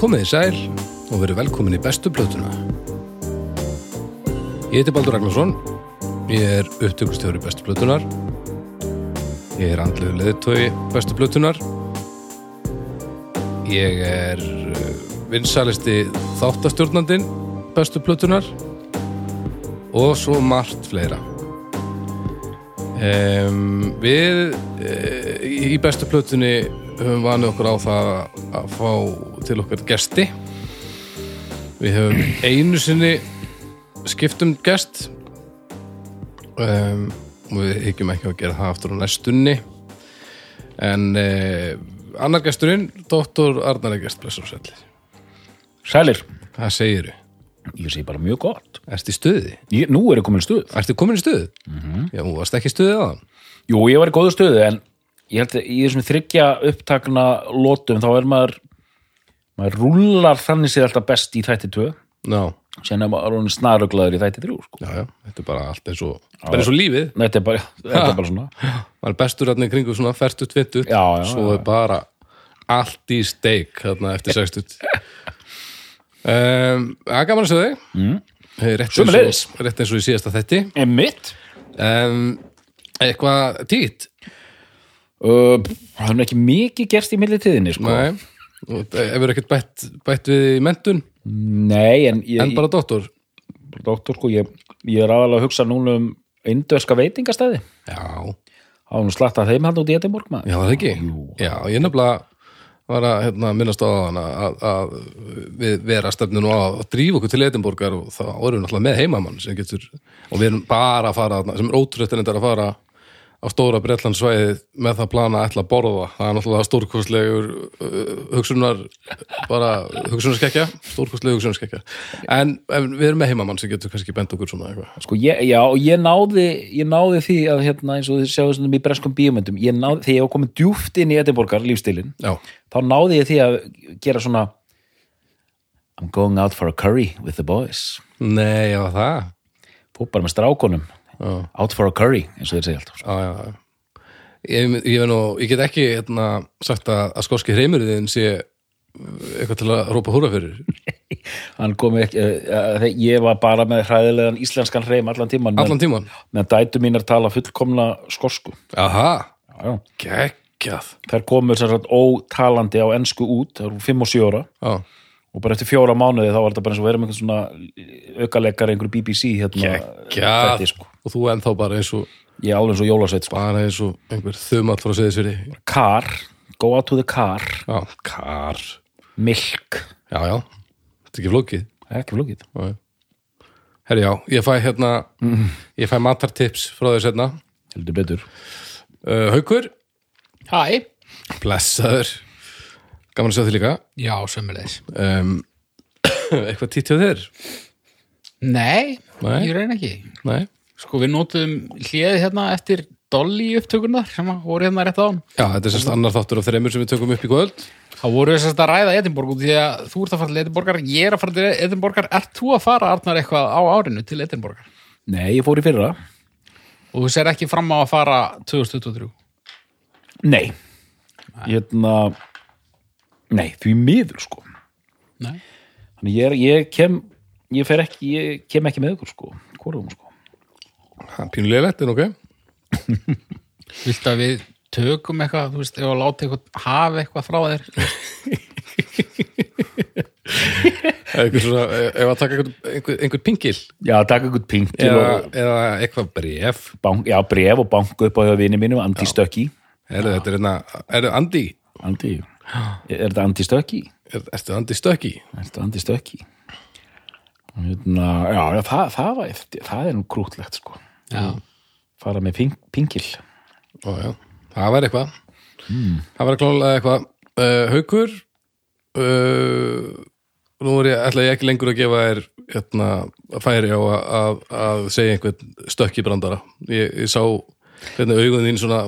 Komiði sæl og verið velkomin í bestu plötuna. Ég heiti Baldur Ragnarsson, ég er upptökustjóri bestu plötunar, ég er andlegu leðitói bestu plötunar, ég er eh, vinsalisti þáttastjórnandin bestu plötunar og svo margt fleira. Um, við uh, í bestu plötunni höfum vanið okkur á það að fá til okkar gesti við höfum einu sinni skiptum gest um, og við hyggjum ekki að gera það aftur á næstunni en uh, annar gesturinn, doktor Arnar Egert blessur og sætli, Sælir, hvað segirðu? ég segi bara mjög gott. Ertu í stuði? Ég, nú er ég komin í stuð. Ertu komin í stuði? Mm -hmm. Já, þú varst ekki í stuði aðan Jú, ég var í góðu stuði, en ég held að í þessum þryggja upptakna lótum þá er maður, maður rúlar þannig séð alltaf best í þætti 2, Já, sen er maður orðinn snaruglaður í þætti 3, sko. já, já, þetta er bara allt eins og bara eins og lífið Nei, Þetta er bara, þetta er bara svona. maður er bestur hann í kringu svona færtu tvittu Já, já, svo já. er bara allt í steik þarna eftir sextut um, það er gaman að segja þig mm. rétt, eins Sömuleiðis. og, rétt eins og í síðasta þetti En mitt? um, eitthvað títt Uh, það er ekki mikið gerst í millitíðinni, sko. nei, og hefur ekkert bætt, bætt við í mentun Nei, en ég, en bara dóttor ég, doktor, sko, ég, ég er aðalega að hugsa núna um indverska veitingastæði. já, Það var nú slatt að þeim hann út í Edimorg, maður. já það er ekki Jú. já, ég nefnilega var að hérna, minnast á hana að, að við vera stefninu á að drífa okkur til Edinborgar og þá erum við náttúrulega með heimamann sem getur, og við erum bara að fara þarna, sem er ótrútt en þetta er að fara á stóra Bretlandsvæðið með það plana að ætla að borða, það er náttúrulega stórkostlegur uh, hugsunar bara hugsunarskekkja, stórkostlegur hugsunarskekkja en, en við erum með heimamann sem getur kannski bent okkur svona eitthvað Sko, ég, já, og ég náði, ég náði því að hérna, eins og þið sjáðu svona í breskum bíómyndum, ég náði, þegar ég var komin djúft inn í Edinborgar, lífstilinn, Já, þá náði ég því að gera svona I'm going out for a curry with the boys. nei, já það Fór bara með strákonum. Já. Out for a curry, eins og þið segja alltaf. Já, já, já. Ég, ég, ég, nú, ég get ekki hérna, sagt að, að skoski hreimurðin sé eh, eitthvað til að rópa húra fyrir Hann kom ekki, uh, uh, ég var bara með hræðilegan íslenskan hreim allan tíman. allan tíman. Með dætu mínar tala fullkomna skosku. Aha, Já, já. geggjað. Þær komur sem sagt ótalandi á ensku út, það eru fimm og sjö ára. Já, og bara eftir fjóra mánuði þá var þetta bara eins og verið með einhvern svona aukaleikar einhverju BBC hérna geggjað. þætti, sko. Og þú ennþá bara eins og, ég er alveg eins og jólasveit sko. bara eins og einhver þumall frá seðisveri. car, go out to the car Já, kar. milk, Eh, Já, já, þetta er ekki flókið. ekki flókið Já, já. Herri, já, ég fæ hérna, ég fæ matartips frá þér setna. heldur betur Uh, Haukur, Hæ, blessaður. Gaman að sjá þig líka. já, sömulegis. Um, eitthvað títt hjá þér? Nei, Nei. ég reyna ekki. Nei. Sko, við nótum hliðið hérna eftir dolli upptökurnar sem að voru hérna rétt á hann. Já, þetta er sérst annar þáttur af þreymur sem við tökum upp í kvöld. Það voru þess að ræða Edinborg út því að þú ert að fara til Edinborgar, ég er að fara til Edinborgar, ert þú að fara, Arnar, eitthvað á árinu til Edinborgar? nei, ég fór í fyrra Og þú ser ekki fram á að fara 2023. nei, hérna nei, því miður sko Nei. þannig ég, er, ég kem ég fer ekki, ég kem ekki með ykkur sko hvorum sko Það er pínulega lett, en ok. Viltu að við tökum eitthvað, þú veist, ef að láta eitthvað hafa eitthvað frá þér? Einhver svona, e, ef að taka einhver, einhver, einhver pingil já, taka ykkur pinkil eða, og eða eitthvað bref. bank, já, bref og banku upp á hjá vini mínum, anti-stökki Eru þetta er hérna, eru Andi, Andi, er þetta Andi Stökki? er, ertu Andi stökki? Er þetta Andi Stökki? Og Hérna, já, já það, það, var, það er nú krútlegt, sko. Já. Fara með ping, pingil. Ó, já, það væri eitthvað. Það væri klálega eitthvað. Uh, haukur, uh, nú er ég, ætla ég ekki lengur að gefa þér hérna, færi á að, að, að segja einhvern stökki brandara. Ég, ég sá hvernig augun þín svona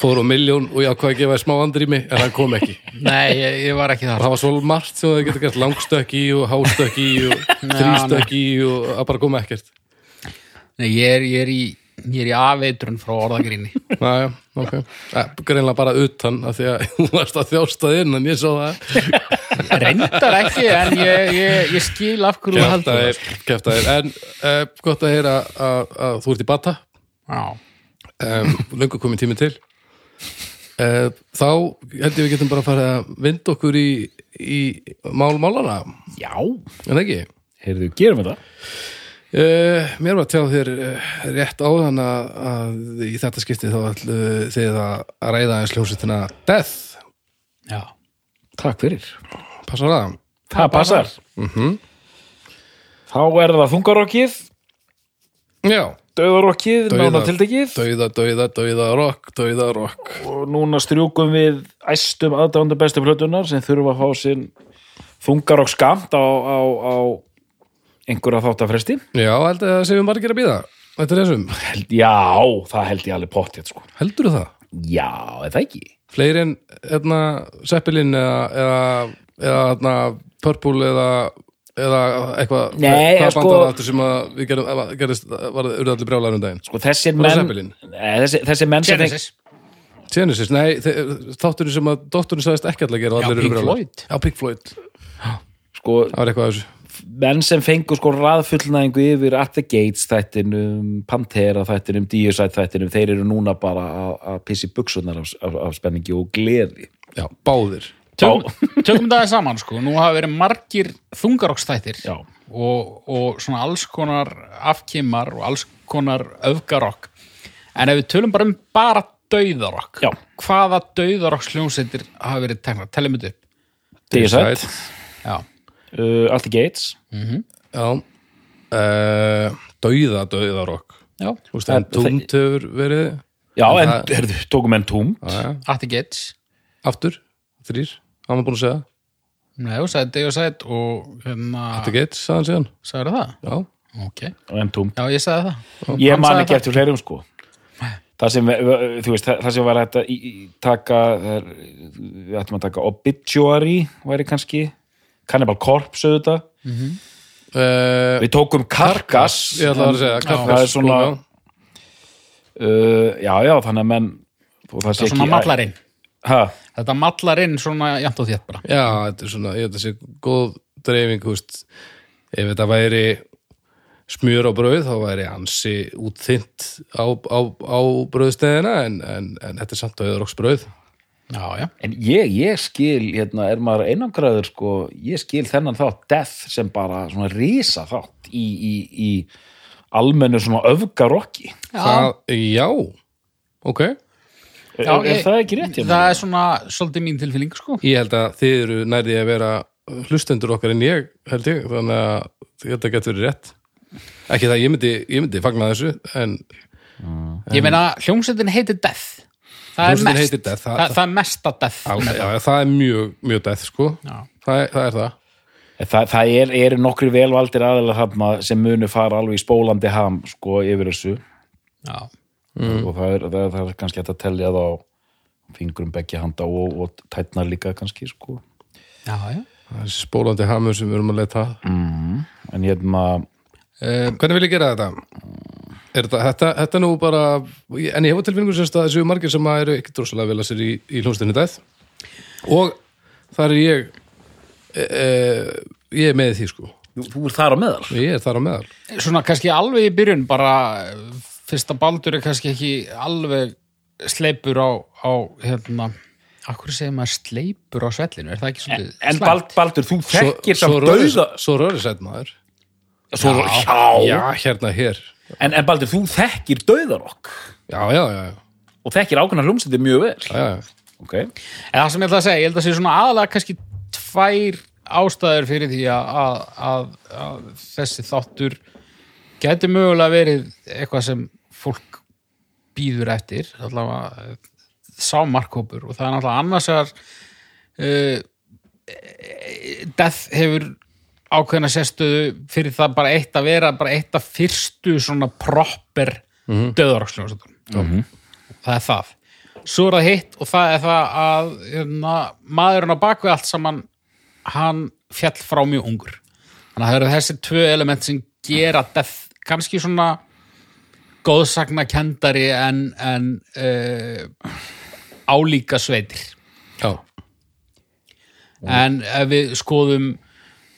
fór á miljón og ég ákvað að gefa þér smá andrými en hann kom ekki. Nei, ég, ég var ekki Og þar. það var svo margt sem þau getur gert langstökk í og hástökk í og þrýstökk í og að bara koma ekkert. Nei, ég er, ég er í, ég er í afeitrun frá orðagrýni. Næja, ok. Eh, Greinlega bara utan af því að þú varst að þjásta þinn en ég sá það. Reyndar ekki, en ég, ég, ég skil af hverju þú Kjafta heldur það. sko. þér, kjafta þér. En uh, gott að heyra að, að þú ert í bata, Já. um, löngu komin tími til. Uh, þá held ég við getum bara að fara að vinda okkur í, í mál málana, Já. en ekki? Heyrðu, gerum við það? Uh, mér var að tjá þér uh, rétt á þann að, að í þetta skipti þá ætlu þið að að ræða eins hljómsveitina Death, Já. Takk fyrir. passar það? Það passar. Þá er það þungarokkið, Já, döðarokkið, Dauða- nánatildekkið dauða, dauða, dauða, rock, dauða, rock. og núna strjúkum við æstum aðdándu bestu plötunar sem þurfa að fá sinn þungarokk skamt á, á, á einhverja þáttafresti. Já, held að það séum margir að býða. Þetta er þessum. Held, já, það held ég alveg pottið, sko. Heldur það? Já, eða ekki. fleiri en hérna, Zeppelin eða, eða, eða hérna, Purple eða, eða eitthvað Nei, hvað sko- bandar það aftur sem að við gerum, að- gerist, var, urðu allir brjálar um daginn Sko, þessir Bara menn, Zeppelin. Nei, þessi, þessi menn sem... Genesis. Genesis, nei, þe- þátturinn sem að dótturinn sagðist ekki allir að gera og Já, allir urðu Pink brjálar. Floyd. Já, Pink Floyd, Sko, það var eitthvað af þessu menn sem fengu sko raðfullnæðingu yfir At the Gates þættinum, Pantera þættinum, Diosite þættinum, þeir eru núna bara að, að pissi buksunar af, af, af spenningi og gleði. Já, báðir Tökum, tökum það saman, sko. Nú hafa verið margir þungarokkstættir. Já. og, og svona alls konar afkimar og alls konar öfgarokk en ef við tölum bara um bara dauðarokk Já. hvaða dauðarokks hljómsveitir hafa verið teknar, telum þetta upp Diosite, já, uh, At the Gates, Já uh, Dauða, dauða rock já, Þú veist, en En tungt hefur verið já, en, það- herðu, tókum enn tóm. Já, já. Atti Gates Aftur, þrýr, hann var búin að segja Nei, þú sagði Dauðarsæt og hérna, Þetta gett, sagði hann síðan sagði það? Já, ok, Enn tóm. já ég sagði það Ég Hann man sagði ekki það. eftir fleirum, sko. Það sem, eh, þú veist, það það sem var hægt að í- í- taka, það er- við ættum að taka Obituary, væri kannski, Cannibal Corpse, auðvitað. uh, Við tókum Carcass. Ég ætla að segja, Karkas það er svona uh, já, já, þannig að menn og það sé þetta svona ekki mallar inn ha, þetta mallar inn svona jæmt og þétt bara Já, þetta er svona, ég held að sé góð dreifing, þú veist ef þetta væri smjör á brauð þá væri ansi útþynt á, á, á brauðstæðina en, en, en þetta er samt auður okks brauð já, já, en ég, ég skil hérna, er maður einangraður sko ég skil þennan þátt death sem bara svona risa þátt í, í, í almennu svona öfgarokki Það, já, ok er, Já, er ég- það ekki rétt? það er svona svolítið mín tilfinning sko Ég held að þið eru nærði að vera hlustendur okkar en ég, held ég þannig að þetta getur verið rétt ekki það, ég myndi, ég myndi fagna þessu en Ég meina, hljómsveitin heitir Death Það er Hljómsveitin mest, heitir Death, það- það, það er mesta Death á, já, það er mjög, mjög death sko Já. það, er- það er það það, það er, eru nokkri velvaldir aðalega hafna sem munu fara alveg í spólandi ham sko yfir þessu Já. Mm. og það er, það, er, það er kannski hægt að telja þá fingrum beggja handa og, og tætnar líka kannski sko Já, já. Það er spólandi hamur sem við erum að leita að en hérna Hvernig vil ég gera þetta? Er þetta, þetta, þetta er nú bara en ég hef á tilfinningu sérst að þessu margir sem að eru ekki drossalega vel að sér í, í hljómsdæðinu dæð og þar er ég e, e, ég er með í því sko Þú er þar á meðal ég er þar á meðal Svona kannski alveg í byrjun bara eh, fyrsta baldur er kannski ekki alveg sleipur á, á hérna Akkur segir maður sleipur á svellinu, er það ekki svolítið? En slæmt? Bald, Baldur, þú þekkir Eh, svo, samt röri- dauða svo rörisætt maður svo, já, Já, hérna hér En, en Baldur, þú þekkir dauðarokk Já, já, já, já, og þekkir ákveðna hljómsætti mjög vel já, já. okay. En það sem ég ætla að segja, ég held að sé svona aðalega kannski tvær ástæður fyrir því að, að, að, að þessi þáttur gæti mögulega verið eitthvað sem fólk býður eftir allavega eh, sá markhópur og það er náttúrulega annars að uh, Death hefur ákveðna sérstöðu fyrir það bara eitt að vera bara eitt af fyrstu svona proper mm -hmm. það er það svo er það hitt og það er það að hérna, maðurinn á bakvið allt saman hann fjall frá mjög ungur þannig að það eru þessi tvö element sem gera Death kannski svona góðsakna kendari en, en eh, uh, álíka sveitir já. en ef við skoðum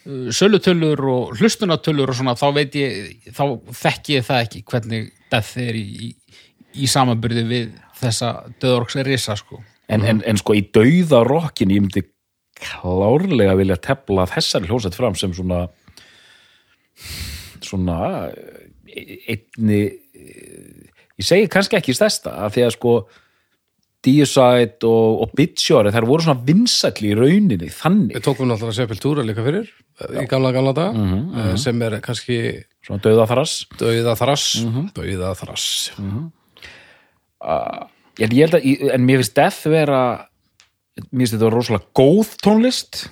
uh, sölutölur og hlustunatölur og svona þá veit ég þá þekki ég það ekki hvernig death er í, í, í samanbyrði við þessa döðorks risa sko en, en, en sko í dauða rokkin ég myndi klárlega vilja tefla þessari hljómsett fram sem svona svona eh, einni eh, ég segi kannski ekki stærsta af því að sko Deicide og, og Bitchore þær voru svona vinsætli í rauninni þannig, Við tókum náttúrulega Seppel Túra líka fyrir í gamla gamla dag Mhm, eh, sem er kannski svona dauða þaras dauða þrass Mhm. dauða þrass en ég held að, en mér finnst Death vera mér finnst þetta vera rosalega góð tónlist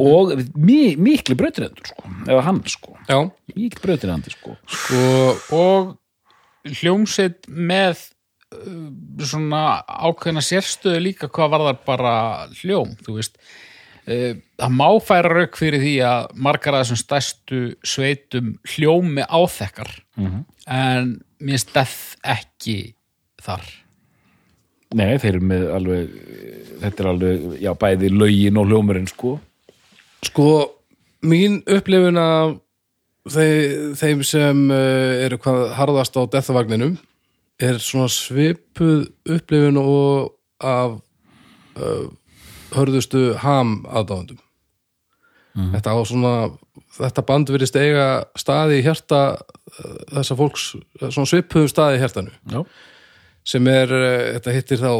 og mi, mikli brautinendur sko, eða hann sko Já, mikli brautinendur sko sko og hljómsveit með uh, svona ákveðna sérstöðu líka hvað varðar bara hljóm, þú veist Uh, það má færa rauk fyrir því að margar af þessum stærstu sveitum hljómi áþekkar en mér steð ekki þar nei, þeir eru með alveg þetta er alveg, já, bæði lögin og hljómurinn sko Sko, mín upplifun af þeim, þeim sem uh, eru hvað harðast á deathvagninum er svona svipuð upplifun og af uh, hörðustu ham aðdáðundum. Þetta á svona, þetta band virðist eiga staði í hjarta uh, þessa fólks, eh, svona svipuðum staði í hjartanu já, sem er, eh, þetta hittir þá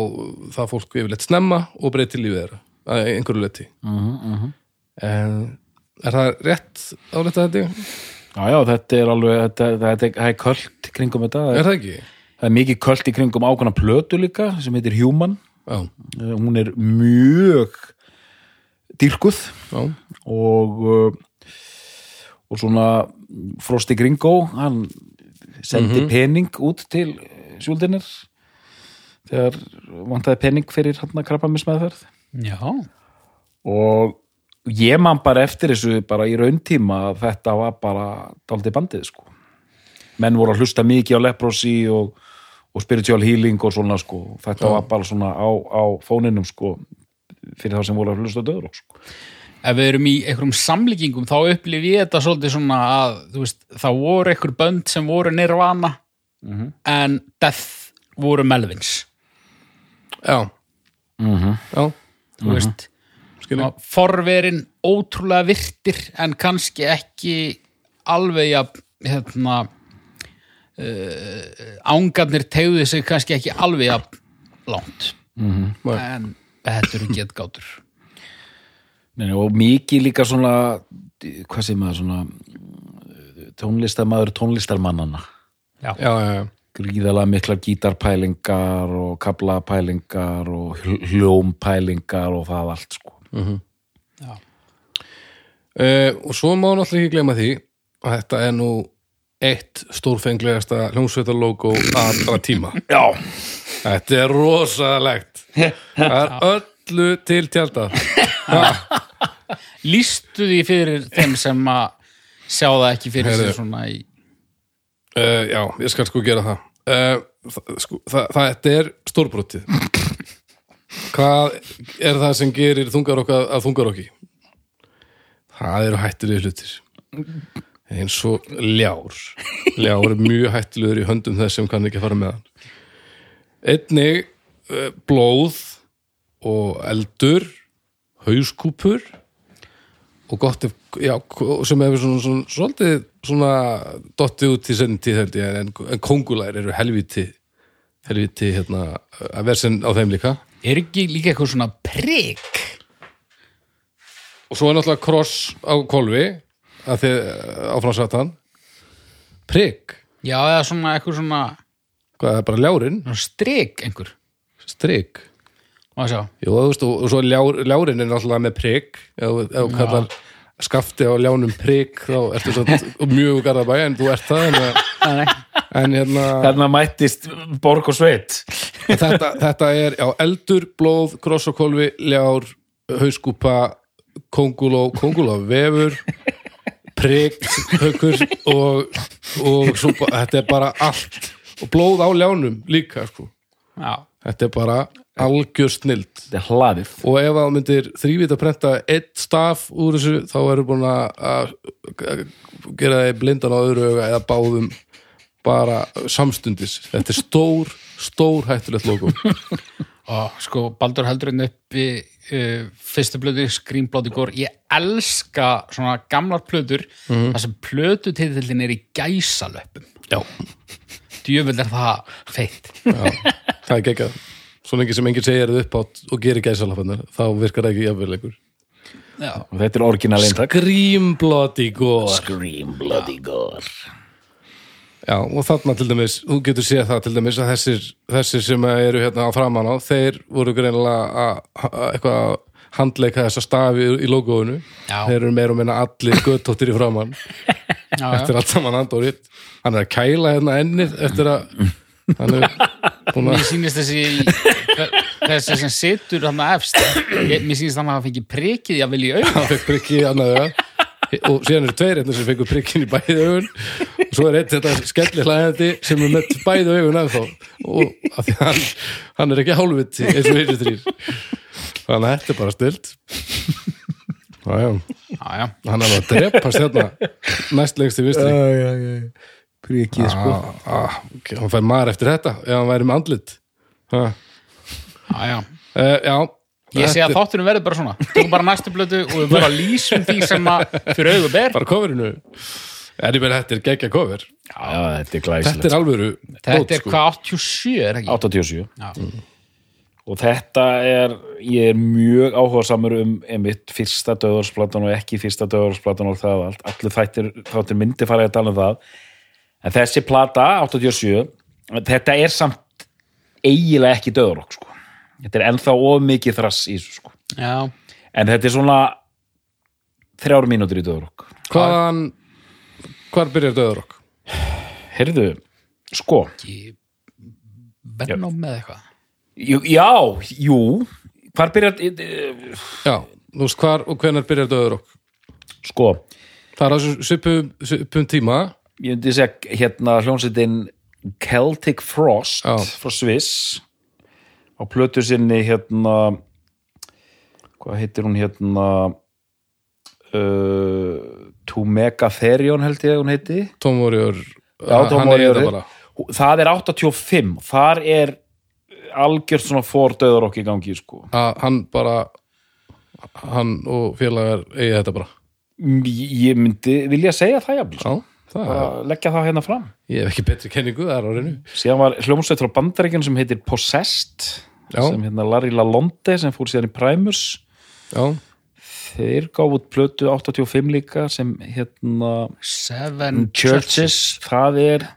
það fólk yfirleitt snemma og breyti lífið þeirra að einhverju leti uh -huh, en er það rétt áletta þetta? já, já þetta er alveg þetta, þetta, þetta er kvöld kringum þetta Er það ekki? það er mikið kvöld í kringum ákvæmna plötu líka sem heitir Human Já, Eh, hún er mjög dýrkuð já, og uh, og svona Frosty Gringo hann sendi pening út til sjúldinir þegar vantaði pening fyrir hann að krabba með smæðferð Já, og ég man bara eftir þessu bara í rauntíma að þetta var bara daldi bandið sko menn voru að hlusta mikið á leprosy og, og spiritual healing og svona sko þetta var bara svona á, á fóninum sko fyrir þá sem voru að hlusta á döður sko. ef við erum í einhverjum samlíkingum þá upplif ég þetta svolítið svona að þú veist, það voru einhver bönd sem voru nirvana en Death voru Melvins já Já, þú veist skilja Ná, forverin ótrúlega virtir en kannski ekki alveg að hérna uh, ángarnir tegðu sig kannski ekki alveg að langt Nei. en þetta eru getgátur Nei, nei, og mikið líka svona hvað segir maður svona tónlistarmaður tónlistarmannana já. Já, já, já, gríðalega miklar gítarpælingar og kablapælingar og hl- hljómpælingar og það allt sko Uh, og svo má náttúrulega ekki gleyma því að þetta er nú eitt stórfenglegasta hljómsveitarlogo allra tíma Já, Þetta er rosalegt Það er öllu til tjálta lístu því fyrir þeim sem að sjá það ekki fyrir Heyrðu. sér svona í Uh, já, ég skal sko gera það. Uh, það, sko, það, það þetta er stórbrotið. Hvað er það sem gerir þungarokka að þungarokki? Það eru hættulegir hlutir. Eins og ljár. Ljár er mjög hættulegur í höndum þess sem kann ekki fara með hann. Einnig uh, blóð og eldur, hauskúpur og gott ef, já, sem hefur svona, svona, svolítið svona dottið út í senni tíð held ég, en, en kongulær eru helviti helviti hérna að versin á þeim líka er ekki líka eitthvað svona prik og svo er náttúrulega kross á kolvi að þið eh, áfram satan prigg, já eða svona eitthvað svona hvað er bara ljárin svona strik einhver strigg Má sjá. Jú, þú veist, og, og svo er ljár, ljárin er náttúrulega með prigg ef þú- ef þú kallar skafti á ljánum prigg þá ertu svo mjög úr garðabæ en þú ert það en, Nei, nei. en hérna þarna mættist borg og sveit En þetta, þetta er já, eldur, blóð, krossakólfi, ljár, hauskúpa, konguló, konguló, vefur, prikt, haukur og, og svo, ba- þetta er bara allt. Og blóð á ljánum líka, sko. já Þetta er bara algjör snild þetta er hlaðið og ef að þú myndir þrývita prenta eitt staf úr þessu þá erum búin að- að að gera þeir blindan á öðru auga eða báðum bara samstundis þetta er stór, stór hættulegt logo og sko Baldur heldur henni upp í uh, fyrstu plötu Scream Bloody Gore ég elska svona gamlar plötur þar sem plötu titillin er í gæsalöpum já, djöfull er það feitt það er geggjað svo lengi sem enginn segir þið upp átt og gerir gæsalafannar þá virkar það ekki jafnvel einhver já, og þetta er orginal eintak Scream Bloody Gore Scream Bloody Gore Já, og þarna til dæmis, þú getur séð það til dæmis að þessir, þessir sem eru hérna á framan á, þeir voru greinilega að, að eitthvað að handleika þessa stafi í logoinu Já. þeir eru meira og minna allir göttóttir í framan já, já. eftir allt saman andórið hann er að kæla hérna ennið eftir að hann er búin mér að sýnist þessi þessi sem situr hann að efst ég, mér sýnist hann að hafa fengið prikið ég vil í auð hann fekk prikki í annað auga og síðan eru tveir hérna sem fengur prikkin í bæði augun og svo er einn þetta skelli hlæðandi sem er með bæði augun ennþá og af því að hann, hann er ekki hálfviti eins og hinir þrýr þannig að þetta er bara stilt já já, já, já. hann er alveg að drepast hérna næst lengst í vistri Príkið sko ah, ah, ok, hann fær maður eftir þetta ef hann væri með andlit uh, Já, já. já ég sé þetta að er þátturum verður bara svona tökum bara næstu plötu og við bara lýsum því sem að fyrir auðum ber bara coverinu er ég meina þetta er geggja cover Já, þetta er glæsilegt þetta er alvöru þetta bót, er sko. hvað 87 er ekki 87 Já. Mm. og þetta er ég er mjög áhugasamur um einmitt fyrsta döðarsplatun og ekki fyrsta döðarsplatun og það og allt, allir þættir þáttir myndi farið að tala um það en þessi plata, 87 þetta er samt eiginlega ekki döðarokk sko þetta er ennþá of mikið þrass í þessu sko já, en þetta er svona þrjár mínútur í döðarokk Hvaðan, hvar byrjar döðurokk? heyrðu, sko ekki Venom með eitthvað jú, já, jú hvar byrjar eh, Já, þú veist hvar og hvenar byrjar döðurokk? sko Það er á þessu svipum, svipum tíma ég myndi segja hérna hljómsveitin Celtic Frost Já. frá Sviss á plötu sinni hérna hvað heitir hún hérna uh, To Megatherion held ég að hún heiti Tom Warrior eh, Já, hann- Tom hann er þetta Warrior bara. það er 85 þar er algjört svona fordöður okkur í gangi sko. að Ah, hann bara hann og félagar eigi þetta bara ég myndi vilja segja það jafnvel sko. Já, það er, Bara leggja það hérna fram ég hef ekki betri kenningu það er á reynu síðan var hljómsveit frá bandaríkjunum sem heitir Possessed Já. sem hérna Larry LaLonde sem fór síðan í Primus Já, þeir gáf út plötu 85 líka sem hérna Seven Mm, Churches, það er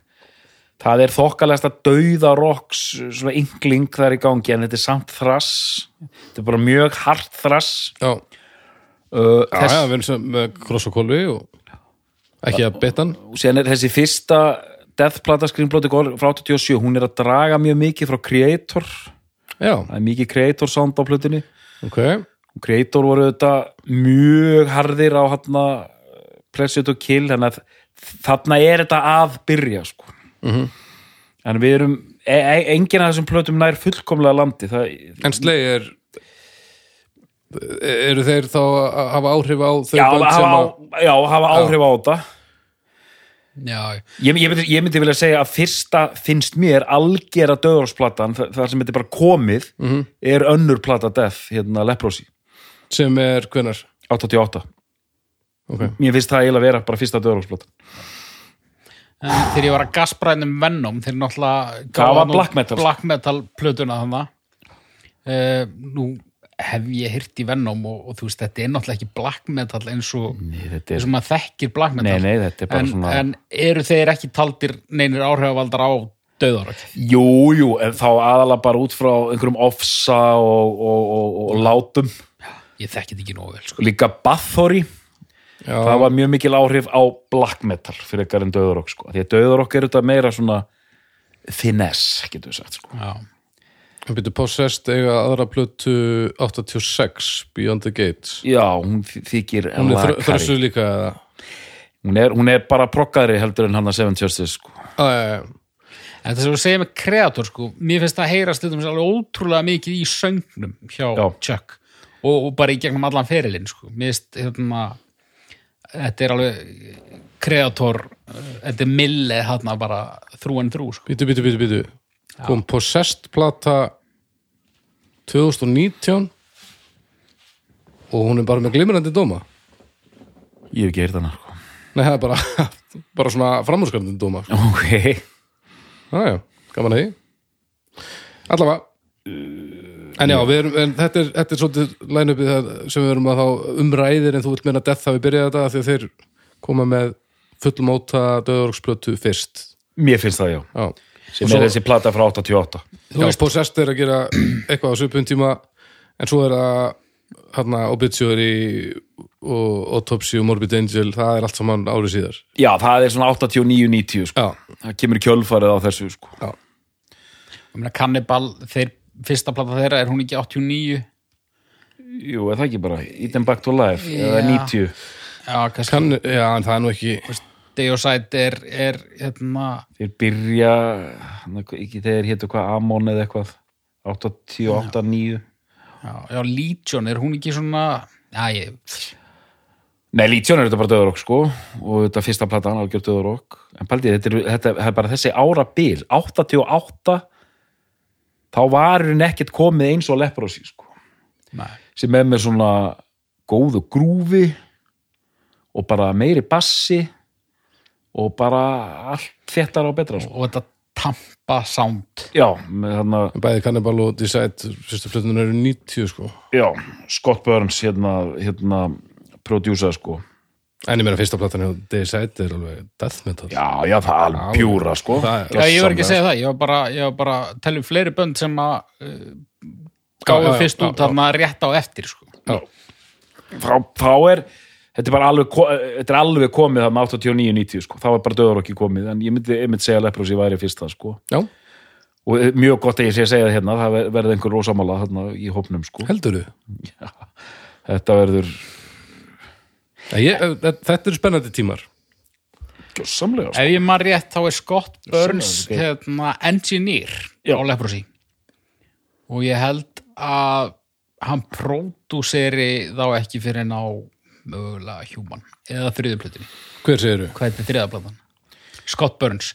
það er þokkalegasta dauða rocks, svona yngling þar í gangi en þetta er samt þrass þetta er bara mjög hart þrass já, uh, já, já við erum sem með kross og kolvi og ekki að betta hann og síðan er þessi fyrsta deathplata skrýmblóti frá 87 hún er að draga mjög mikið frá Creator það Já, er mikið Creator sound á plötunni ok, og Creator voru þetta mjög harðir á hérna, hann Pressure to Kill þannig að þarna er þetta að byrja sko. Mhm. -hmm. en við erum e e enginn af þessum plötum nær fullkomlega landi það, en slei er eru þeir þá að hafa áhrif á þau já, bönd hafa, sem að á- já, hafa áhrif á þetta já, ég, ég, myndi, ég myndi vilja segja að fyrsta finnst mér algera döðarsplattan þar þar sem þetta er bara komið Mhm. -hmm. er önnur plata Death hérna Leprosi sem er hvenar 88 okay. mér finnst það eiginlega vera bara fyrsta döðarsplattan En þegar ég var að gasbræðnum Venom þeir náttúrulega Það gáfu var nú black metal. black metal plötuna þannig uh, nú hef ég hirt í Venom og, og þú veist þetta er náttúrulega ekki black metal eins og Nei, þetta er- eins og maður þekkir black metal Nei, nei, þetta er bara en, svona- en eru þeir ekki taldir neinir áhrifavaldar á döðarökk Jú, jú, en þá aðalega bara út frá einhverjum ofsa og, og, og, og látum ég þekki þetta ekki nógu vel sko. líka Bathory það var mjög mikil áhrif á black metal fyrir ekkar en döðurokk sko. því að döðurokk er þetta meira svona finesse, getur við sagt sko. já, Hann byrju Possessed eiga aðra plötu 86 Beyond the Gates Já, hún þy- þykir Hún er þr- lakari. þrössu líka eða hún, er, hún er bara prokkari heldur en hann að Seven Justice sko. Æ, Eh, en það sem við segjum með kreator sko, mér finnst það að heyra stundum sér alveg ótrúlega mikið í söngnum hjá Já. Chuck og, og bara í gegnum allan ferilinn sko. mér finnst hérna þetta er alveg kreator þetta er mille hérna bara þrú en þrú sko. Bítu, bítu, bítu, bítu. Kom Possessed plata 2019 og hún er bara með glimrandi dóma. Ég hef ekki heyrt hana sko. Nei, það er bara, bara svona framúrskarandi dóma. sko. Ok Já, já, gaman að því. Allavega. En já, við erum, en þetta, er, þetta er svolítið line-upið það sem við erum að þá umræðir en þú vilt meina að Death hafi byrjað þetta af því að þeir koma með fullmóta döðorgsplötu fyrst. Mér finnst það já Já. Sem er þessi plata frá 88 Þú veist, Possessed er að gera eitthvað á svipun tíma en svo er það hérna, Obituary og Autopsy og Morbid Angel það er allt saman árið síðar Já, það er svona 89-90 sko. Já, Það kemur í kjölfarið á þessu sko. já, ég meina Cannibal, þeir, fyrsta plata þeirra er hún ekki 89 Jú, er það ekki bara Eat them back to life Eða Já. 90 já, kannski kann, já, en það er nú ekki Deosite er, er hérna, Þeir byrja hann, ekki, Þeir hétu hvað Amon eða eitthvað 88-9 já, já, Legion er hún ekki svona já, ég, Nei, Lítjón er þetta bara döðurokk sko og þetta fyrsta plata hann algjör döðurokk en paldið, þetta, er- þetta er bara þessi ára bil 88 þá var hún ekkert komið eins og leprosi sko nei sem er með svona góðu grúfi og bara meiri bassi og bara allt þéttar og betra sko. og þetta tampa sound Já, með þarna bæði Cannibal og Decide fyrstu plötunar eru 90 sko já, Scott Burns hérna, hérna prodjúsa sko en ég meina fyrsta platan hjá Decide er alveg death metal Já, já, það er alveg pjúra sko Það er- já, ég var ekki að segja það, ég var bara, ég var bara að tala um fleiri bönd sem að uh, gáðu Já, já, fyrst já, út já. þarna rétt á eftir sko. já, þá, þá er þetta er bara alveg, ko- eh, þetta er alveg komið það með 89-90 sko, þá er bara döður okki komið en ég myndi, ég myndi segja að leprosi væri fyrst það sko já og eh, mjög gott að ég sé að segja það hérna það ver- verður einhver rosamála þarna í hópnum sko heldur þú? þetta verður eh, Þetta eru spennandi tímar gjössamlega sko. ef ég maður rétt þá er Scott Burns Sannlega, hérna, engineer Já. á Leprosy og ég held að hann pródúseri þá ekki fyrir en á mögulega human eða þriðuplötunni, Hver segirðu? hvað heitir þriðaplötan? Scott Burns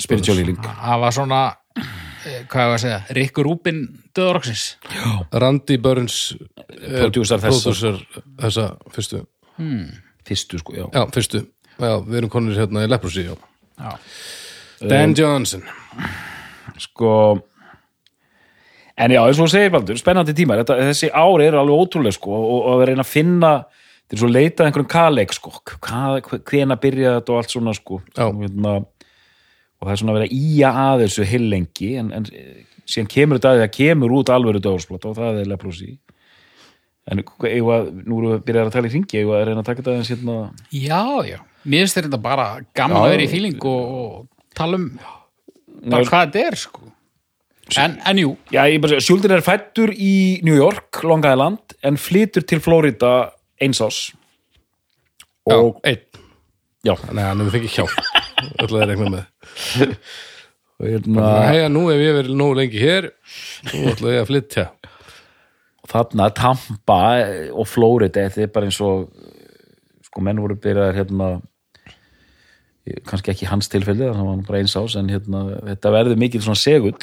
spiritual healing það var svona, eh, hvað ég var að segja Rick Rubin döðaroksins Randy Burns er Producer þessa. producer þessa fyrstu fyrstu sko, já, Já, fyrstu. Já, við erum konir hérna í Leprosy, já. já Eh, Dan Johnson. sko en já, eins og þú segir Baldur, spennandi tímar þetta, þessi ári eru alveg ótrúlega sko og, og að reyna að finna þetta er svo leitað einhverjum kaleik sko hvað, hvena byrja þetta og allt svona sko Já. og, hérna, og það er svona að vera íja að þessu heilengi en, en síðan kemur þetta að því að kemur út alvöru döðarsplata og það er leprosi en eigum að, nú erum við byrjað að tala í ringi eigum við að reyna að taka þetta aðeins hérna Já, já. Mér finnst þetta bara gaman Já. að vera í fíling og, og tala um bara hvað þetta er, sko. En, en jú, Já, ég bara, Sjúldin er fættur í New York, Long Island, en flytur til Florida eins ás. Já, Og, einn. já, Nei, hann hefur fengið hjálp. Öllu það er eitthvað með. og hérna, Hæja, nú hef ég verið nógu lengi hér, nú ætla ég að flytja. þarna Tampa og Florida, þetta er bara eins og, sko, menn voru byrjaðar, hérna, kannski ekki í hans tilfelli, þannig var hann bara eins ás, en hérna, þetta verður mikil svona segull.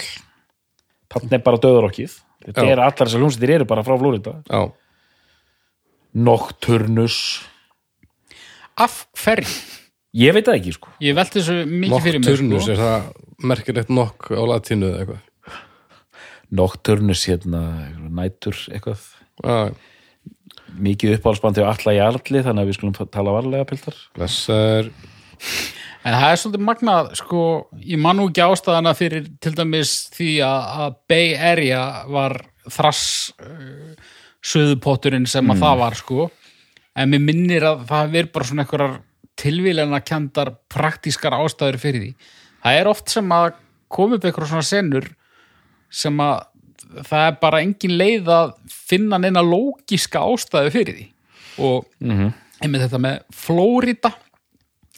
Þannig er bara döðarokkið. Þetta Já. er allar þessar hljómsveitir eru bara frá Florida. Já, Nocturnus. af hverju? Ég veit það ekki, sko. Ég velti þessu mikið fyrir mér, Nocturnus, sko. er það merkir eitt nokk á latínu eða eitthvað? Nocturnus, hérna, nætur, eitthvað. Já, mikið uppáhaldsbandi á alla jarli þannig að við skulum tala varlega pildar blessaður. En það er svolítið magnað, sko, ég man nú ekki ástæðana fyrir til dæmis því að, að Bay Area var þrass uh, söðupotturinn sem að það var, sko. En mér minnir að það hafi verið bara svona einhverjar tilvílana kendar praktískar ástæður fyrir því. Það er oft sem að koma upp einhverjar svona senur sem að það er bara engin leið að finna neina lógiska ástæðu fyrir því. Og einmitt þetta með Flórida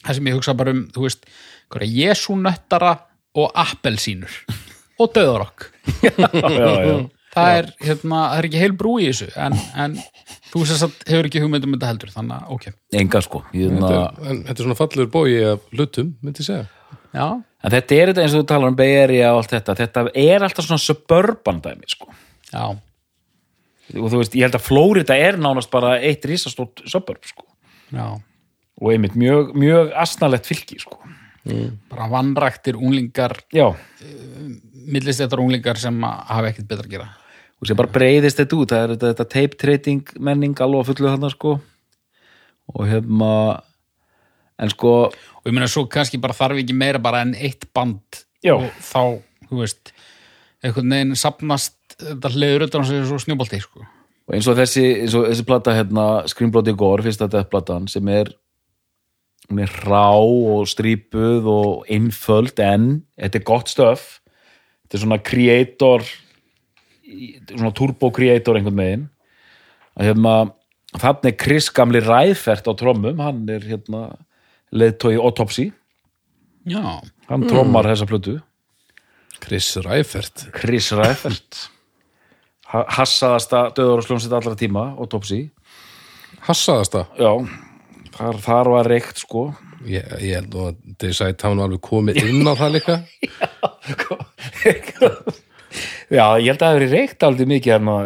það sem ég hugsa bara um, þú veist, einhverja jesúnöttara og appelsínur og döðarokk já, já. það er, hérna, það er ekki heil brú í þessu en, en þú sem sagt hefur ekki hugmyndum þetta heldur, þannig að ok enga sko ég, na, en þetta er svona fallur bói af hlutum, myndi ég segja já, en þetta er þetta eins og þú talar um Bay Area og allt þetta, þetta er alltaf svona suburban dæmi sko já, og þú veist, ég held að Flórida er nánast bara eitt risastórt suburb sko já og einmitt mjög, mjög asnalett fylki sko bara vannræktir unglingar já, og millistættar unglingar sem að hafa ekkert betra að gera sem bara breyðist þetta út það er þetta, þetta tape trading menning alveg að fullu þarna sko og hefma en sko, og ég meina svo kannski bara þarf ekki meira bara en eitt band Já. og þá, þú veist einhvern veginn sapnast þetta hliður utan á sig svo snjóbalti sko. og eins og þessi eins og þessi plata hérna, Screenblóti Gór fyrsta deathplatan sem er hún er rá og strípuð og einföld en þetta er gott stöf þetta er svona creator í- svona turbo creator einhvern veginn að hérna þannig er Chris gamli ræðfært á trommum hann er hérna leðtói autopsy, já, hann trommar þessa plötu Chris Ræfert Chris ræðfært hassaðasta döður og sljómsett allra tíma autopsy Hassaðast það, Já, þar, þar var reykt sko ég, ég held nú að Deyside hann alveg komið inn á það líka Já, ég held að það hefur reykt aldrei mikið hérna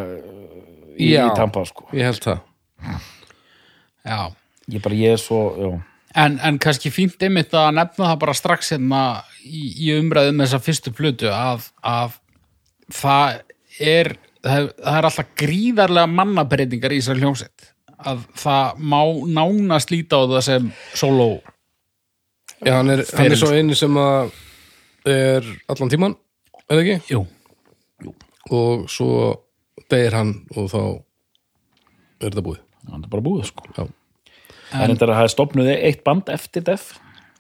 í, í Já. Tampa sko ég held það já Ég bara, ég er svo, já En, en kannski fínt einmitt að nefna það bara strax hérna í, í umræðum þessa fyrstu plötu að, að það er það, er- það er alltaf gríðarlega mannabreitingar í þessar hljómsett að það má nána slíta á það sem solo Já, hann er, hann er svo einu sem að er allan tíman, er það ekki? Jú, Og svo deyr hann og þá er þetta búið Hann er bara búið sko Já, En þetta er reyndar að það stopnuði eitt band eftir def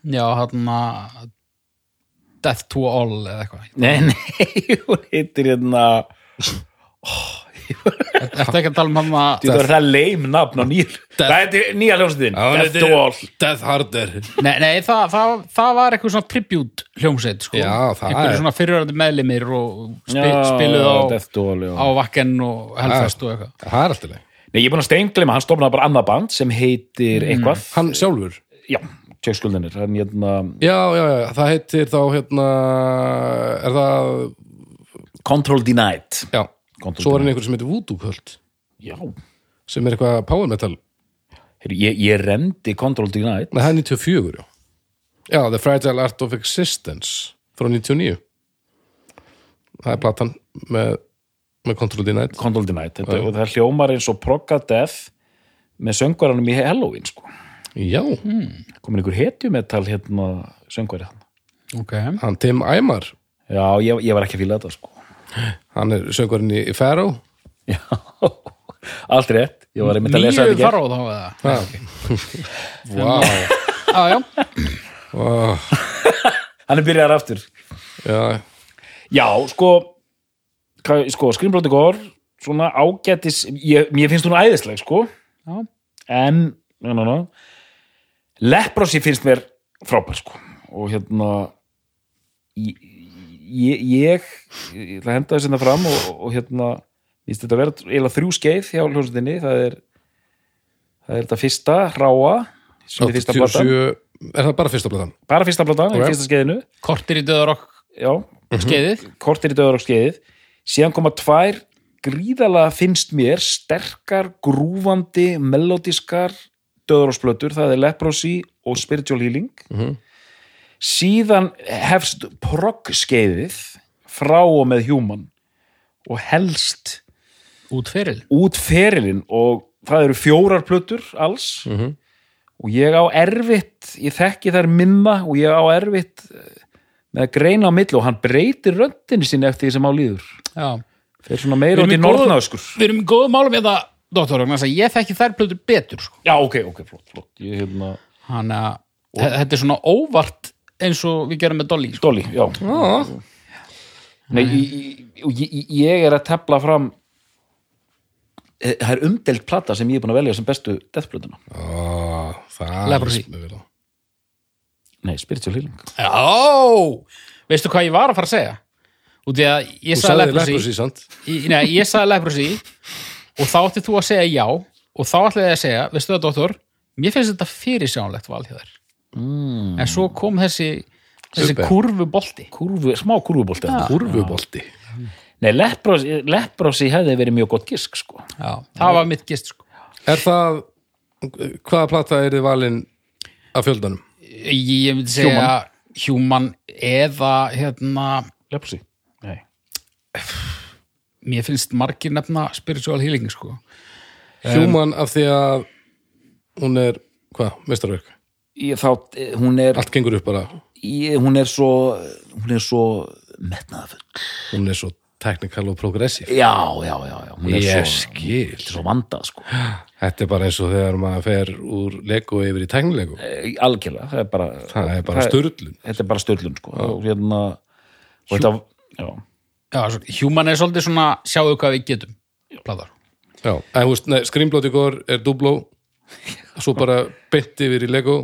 já, hérna Death to All eða eitthvað Nei, nei, hún heitir hérna Þetta ekki að tala um hann að Þú verður það leim nafn á nýja Það heitir nýja ljósniðin, Death to All Death Harder Nei, nei það, það, það var eitthvað svona tribute hljómsveit sko. Já, það Einhverjir er- svona fyrirverandi meðlimir og spi, Já, spiluð á Death to All, já á Vakken og Hellfest og eitthvað Það er alltaf leið Nei, ég er búin að steinglema, hann stopnaði bara annað band sem heitir eitthvað Hann sjálfur Já, tjökskuldinir, hann hérna Já, já, já, það heitir þá hérna Er það, Control Denied já Control Svo var hann einhver sem heitir Voodoo Cult Já, Sem er eitthvað power metal Heyrðu, ég, ég rendi Control Denied Nei, það er 94, já Já, The Fragile Art of Existence frá 99 Það er platan með, með Control Denied Control Denied, þetta, og það hljómar eins og Progga Death með söngvaranum í Halloween sko. Já, komin ykkur hetjumetal hérna söngvari hann ok, hann Tim Æmar já, ég, ég var ekki að fíla þetta sko. hann er söngurinn í Faro já, allt rétt ég var einmitt að lesa nýju þetta ekki faróð á það Vá Ah, já, já, Vá. hann er byrjaðar aftur Já, já, sko hvað- sko, skrýmblóti gór svona ágætis, ég, mér finnst hún æðisleg sko, já. en no, no, no. leprosi finnst mér frábær sko og hérna ég, ég, ég ég ætla að henda þess hérna fram og, og hérna, ég veist þetta að vera eiginlega þrjú skeið hjá hljómsveitinni það er, það er þetta fyrsta, ráa sem er fyrsta platan, 87 er það bara fyrsta platan? bara fyrsta platan Ok. í fyrsta skeiðinu, kortir í döðarokk já, skeiðið kortir í döður á skeiðið síðan koma tvær gríðalega finnst mér sterkar, grúfandi melodiskar döðurósplötur, það er Leprosy og Spiritual Healing síðan hefst progg skeiðið frá og með human og helst út fyrir út ferilinn og það eru fjórar plötur alls Mhm. og ég á erfitt ég þekki þær minna og ég á erfitt eh, með að greina á milli og hann breytir röndinni sinni eftir því sem á líður já. Þeir svona meira Við út í erum í góðu- norðnaðskur. við erum í góðum málum eða doktor, vegna þess að ég þekki þær plötur betur sko. Já, ok, ok, flott, flott. Ég hérna... hann að þe- þetta er svona óvart eins og við gerum með Dolly sko. Dolly, já. Já, Nei, ég, ég- ég, ég er að tefla fram Eh, það er umdelt plata sem Ah, ég er búin að velja sem bestu deathblötuna. Á, það Leprosy. er- nei, spiritual healing Já, veistu hvað ég var að fara að segja? Út í að ég Þú sagði sagði leprosy, leprosy, sant? Í- Nei, ég sagði leprosy og þá átti þú að segja já og þá ætlaði ég að segja, veistu það, doktor mér finnst þetta fyrirsjánlegt val hjá þér mm. en svo kom þessi þessi Super. kurvubolti Kúrfu, smá kúrfubolti ja. Kurvubolti. nei, leprosi, leprosi hefði verið mjög gott gisk sko. já. það var mitt gist sko. Er það, hvaða plata er þið valin af fjöldanum? ég, ég myndi segja human eða hérna, leprosi nei. mér finnst margir nefna spiritual healing sko. Human af því að hún er, hvað, mestarverk? Ég, þá, eh, hún er Allt gengur upp bara, ég, hún er svo hún er svo metnaðafull hún er svo technical og progressiv. já, já, já, já hún er svo, Ég skil. þetta er svo vandað sko. Þetta er bara eins og þegar maður fer úr lego yfir í tæknilegu. Eh, algjörlega, það er bara Það er bara störlun. þetta er bara störlun sko. og hérna og þetta, já, já, svo, human er svolítið svona sjáðu hvað við getum pláðar Já, en þú veist, nei, Screamblot í góður er dubló, svo bara beint yfir í lego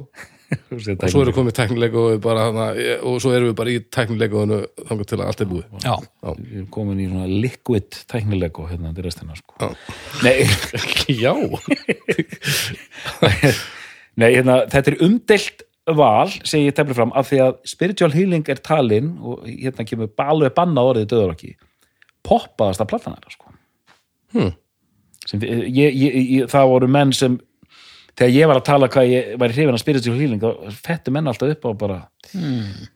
og svo eru komið tæknilegu og, við bara, þarna- og svo erum við bara í tæknilegu þangar til að allt er búið. já, ég er komin í svona liquid tæknilegu hérna til restina sko. Já. nei, Já, nei hérna, þetta er umdelt val segi ég tefli fram af því að spiritual healing er talin og hérna kemur balu er bannað orðið döður ekki poppaðasta platan er sko. Hmm. sem, ég, ég, ég, það voru menn sem þegar ég var að tala hvað ég var í hrifin að spiritual healing þá fettu menn alltaf upp á bara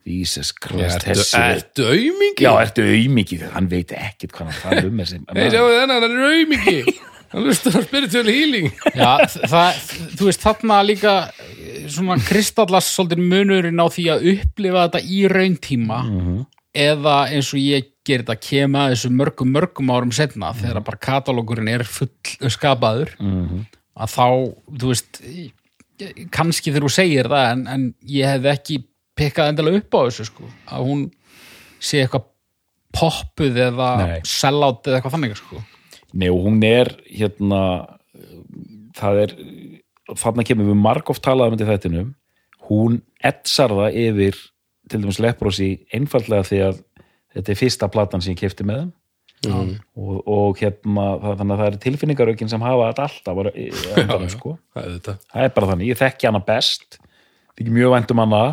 Jesus Christ ertu, þessi- ertu aumingi? Já, ertu auðmikið, hann veit ekkit hvað hann tala um þessi Nei, sjáu þennan, hann er aumingi. Hann lustar á spiritual healing. Já, þ- það, þú veist, þarna líka eh, svona kristallast svolítið munurinn á því að upplifa þetta í rauntíma eða eins og ég gerir þetta kema þessu mörgum, mörgum árum setna þegar bara katalógurinn er full eh, skapaður að þá, þú veist eh, kannski þegar þú segir það en, en ég hefði ekki pikkað endilega upp á þessu sko að hún sé eitthvað poppuð eða Nei. sellátt eða eitthvað þannig sko Nei, og hún er hérna uh, það er, þarna kemur við um margóft talaðum til þættinu hún etsar það yfir til dæmis leprosi einfaldlega því að þetta er fyrsta platan sem ég kefti með þeim og, og hérna það, þannig að það er tilfinningaraukinn sem hafa þetta alltaf bara, í- í endanum, sko. Það er þetta. það er bara þannig, ég þekki hana best þykir mjög vænt um hana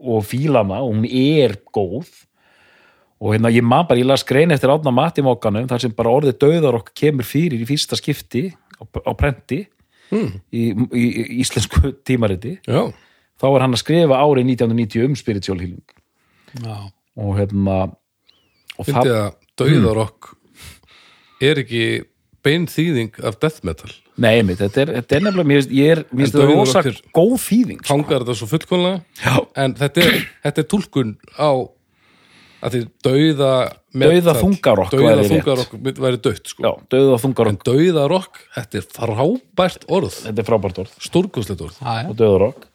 og fíla hana og hún er góð og hérna ég man bara, ég las grein eftir átna mati mókanum þar sem bara orðið döðar okkur kemur fyrir í fyrsta skipti á, á prenti Hmm. í, í, í íslensku tímariti Já, þá er hann að skrifa árið 1990 um spiritual healing Já og hérna og fyndið að dauðarokk Mm. er ekki bein þýðing af death metal. nei, einmitt, þetta er, þetta er nefnilega, mér finnst- ég er, mér finnst En þetta dauður rosa okkur- góð þýðing sko. Fangar þetta svo fullkomlega, en þetta er, þetta er tólkun á að því dauða metal- Dauða þungarokk dauða væri rétt. þungarokk mynd- væri dött sko. já, döðu og þungar en dauðarokk, þetta er frábært orð þetta er frábært orð stórkosleitt orð Já, já. og Döðurokk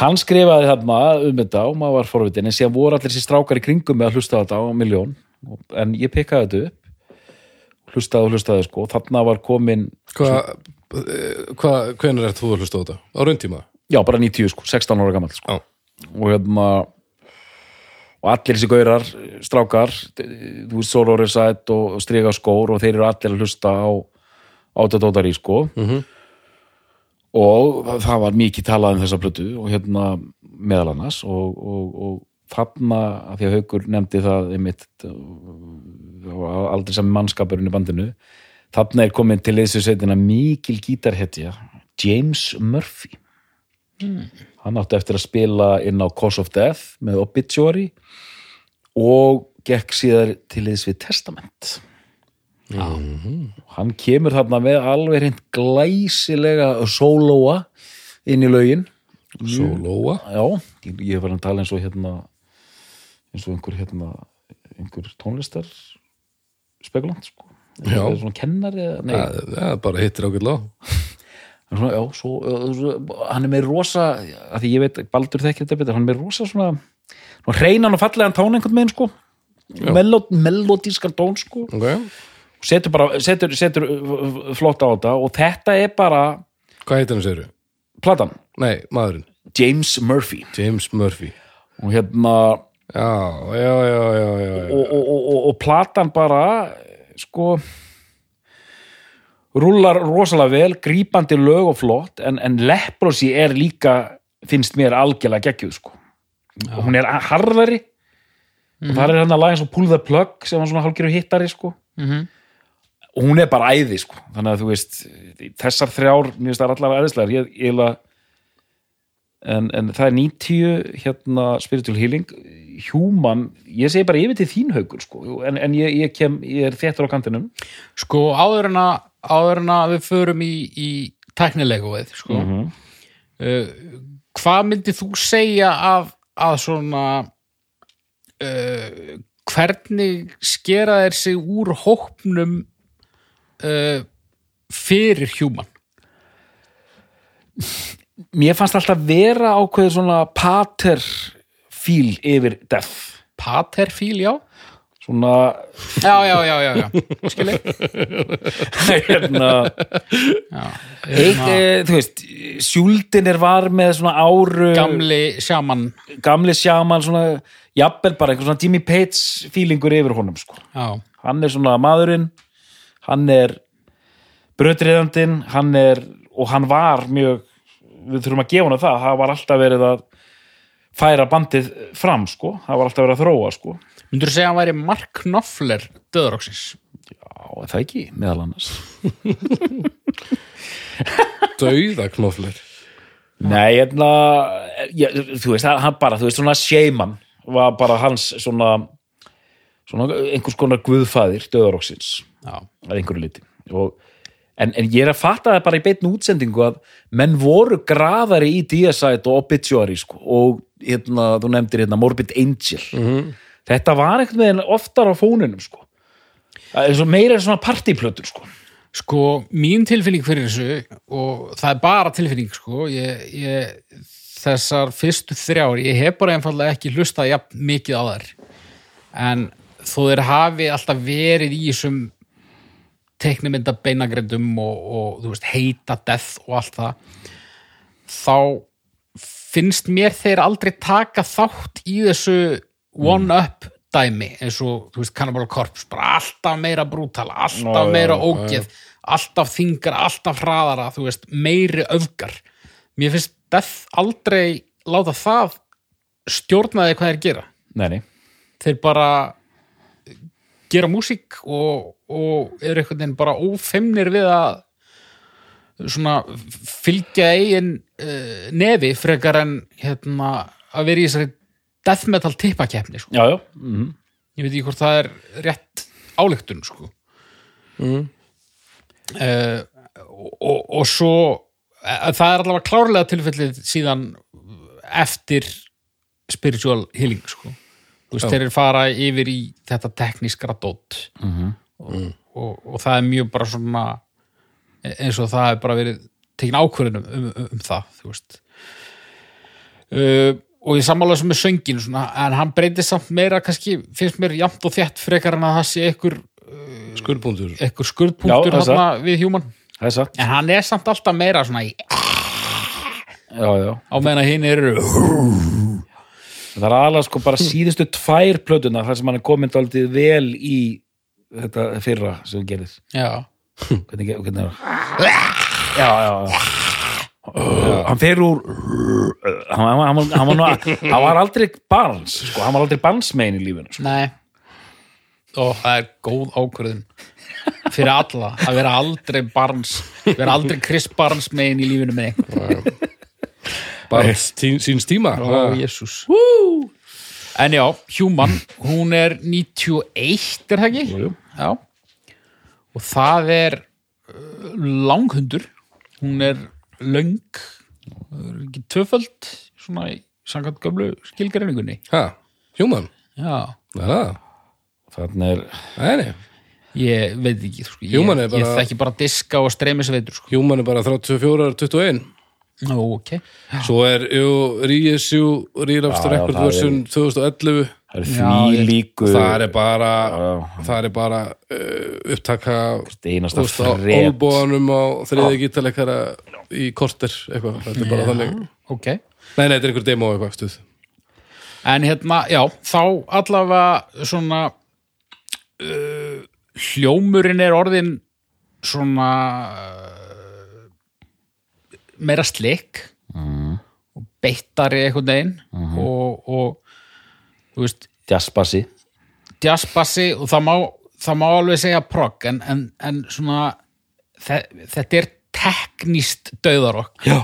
hann skrifaði þarna um þetta og maður var forvitin en síðan voru allir þessi strákar í kringum með að hlusta á þetta á miljón en ég pikkaði þetta upp hlustaði og hlustaði sko og þarna var komin, Hvað, eh, hva, hvenær ert þú að hlusta á þetta? Á rauntíma? já bara 90 sko 16 ára gamall sko Já. og hérna og allir þessi gaurar, strákar þú veist Sorori Sætt og Striga Skór og þeir eru allir að hlusta á Átadótari sko -hmm. og það- það var mikið talað um þessa plötu og hérna meðal annars og, og, og þarna að því að Haukur nefndi það einmitt og aldrei sami mannskapurinn í bandinu þarna er komin til þessu sveitina mikil gítarhetja James Murphy hann átti eftir að spila inn á Cause of Death með Obituary og gekk síðar til þess við Testament hann kemur þarna með alveg hreint glæsilega sólóa inn í lögin Sólóa? já, ég ég var að tala eins og hérna eins og einhver hérna einhver tónlistar spekulant sko Já. Eða svona kennari eða- nei, Það það bara hittir ágætlega á. En svona, já, svo, svo, hann er með rosa að því ég veit, Baldur þekkir þetta betur hann er með rosa svona, svona reynan og fallegan tón einhvern veginn sko Melod, melodískan tón sko Okay. setur bara, setur, setur uh, flott á þetta og þetta er bara Hvað heitir hann segir platan, Nei, maðurinn. James Murphy James Murphy og hérna já, já, já, já, já, já. og, og, og, og, og platan bara sko rúlar rosalega vel grípandi lög og flott en, en leprosi er líka finnst mér algjörlega geggjuð sko og hún er harðari og það er hann að laga eins og Pull the Plug sem var svona hálfgerðu hittari sko Mhm. og hún er bara æði sko þannig að þú veist, þessar þrjár mér finnst það allar æðislegar ég, ég eiginlega- en, en það er 90 hérna Spiritual Healing Human, ég segi bara yfir til þín haugur sko, en, en ég, ég kem ég er þéttur á kantinum sko áður en að, áður en að við förum í, í tæknileguð sko. uh, hvað myndir þú segja að, að svona uh, hvernig skera þeir sig úr hópnum uh, fyrir human mér fannst alltaf vera ákveðið svona pater fíl yfir death paterfíl, já svona já, já, já, já, já. skilji hérna eitt, Hérna, e, þú veist, sjúldinir var með svona áru gamli sjaman gamli sjaman svona, jafnvel bara einhver svona Jimmy Page fílingur yfir honum sko. já, hann er svona maðurinn hann er brötriðandinn, hann er og hann var mjög við þurfum að gefa hana það, það var alltaf verið að færa bandið fram sko, það var alltaf verið að þróa sko myndur þú segja að hann væri Mark Knopfler döðróksins á, er það ekki, meðal annars dauða knoflir Nei, hérna, ég, þú veist, hann bara, þú veist, svona Shaman var bara hans svona, svona einhvers konar guðfæðir döðaróksins já, að einhverju liti. Og, en, en ég er að fatta það bara í beitn útsendingu að menn voru graðari í DSite og Obituary, sko, og hérna, þú nefndir hérna Morbid Angel. Þetta var einhvern veginn oftar á fóninum, sko. Það er svo meira en svona partíplötur, sko. Sko, mín tilfinning fyrir þessu og það er bara tilfinning sko, ég, ég, þessar fyrstu þrjár, ég hef bara einfallega ekki hlustað jafn mikið á þær en þó þeir hafi alltaf verið í þessum teiknumynda beinagrindum og, og þú veist, heita death og allt það þá finnst mér þeir aldrei taka þátt í þessu Mm. one-up dæmi eins og, þú veist, Cannibal Corpse bara alltaf meira brútal, alltaf Já, já, meira já, ógeð, alltaf þingar alltaf hraðara, þú veist, meiri öfgar mér finnst death aldrei láta það stjórnaði hvað þeir gera Nei, nei. þeir bara gera músík og, og eru einhvern veginn bara ófemnir við að svona fylgja eigin uh, nefi frekar en hérna, að vera í þessari death metal tippakeppni sko. Já, já. Mm -hmm. ég veit ekki hvort það er rétt álíktun sko. mm. og, og, og svo eh, það er allavega klárlega tilfellið síðan eftir spiritual healing sko. þú veist, þeir eru fara yfir í þetta teknískra dót -hmm. og, og, og það er mjög bara svona e-, eins og það er bara verið tekin ákvörðin um, um, um, um það þú veist uh, og ég sammála þessu með söngin svona, en hann breytist samt meira kannski finnst mér jafnt og þétt frekar en að það sé einhver, skurðbúndur einhver Já, skurðpunktur það er hana, við human Það er satt. en hann er samt alltaf meira svona í, Já, já. á meðan að hinn eru það er aðalega sko bara síðustu tvær plötuna þar sem hann er komin daldið vel í þetta fyrra sem hann gerðis já, hvernig, hvernig er það? já, já, já hann fer úr hann, hann, hann, hann, var, nú- hann var aldrei barns sko, hann var aldrei barnsmein í lífinu sko. nei og það er góð ákvörðin fyrir alla, að vera aldrei barns vera aldrei Chris Barnes megin í lífinu með einhver bara tí, síns tíma Ó, Já. jésús Ah. En já, Human, hún er 91, er það ekki? Jú, jú. Já Og það er uh, langhundur Hún er löng það er ekki tvöföld svona í samkvæmt gömlu skilgreiningunni ha, human, Já það er það þannig er Nei, nei. Ég veit ekki, sko, ég, Human er bara- ég þekki bara diska og streymisveitur sko. human er bara 34, 21 Nú, ok svo er Ríesjú Ríraft Já, já, það Record er- version 2011 það er Já, því líku það er bara já. það er bara uh, upptaka þú einasta veist, á fred olbóanum á þriði gítalekara í korter eitthvað, þetta er bara þannig Ok Nei, nei, þetta er einhver demo eitthvað stuð en hérna, já, þá allavega svona uh, hljómurinn er orðin svona uh, meira slik mm. Mhm. og beittari einhvern veginn og, og þú veist, Jazzbassi jazzbassi og það má, það má alveg segja prog en, en, en svona þe þetta er teknist döðarokk Já.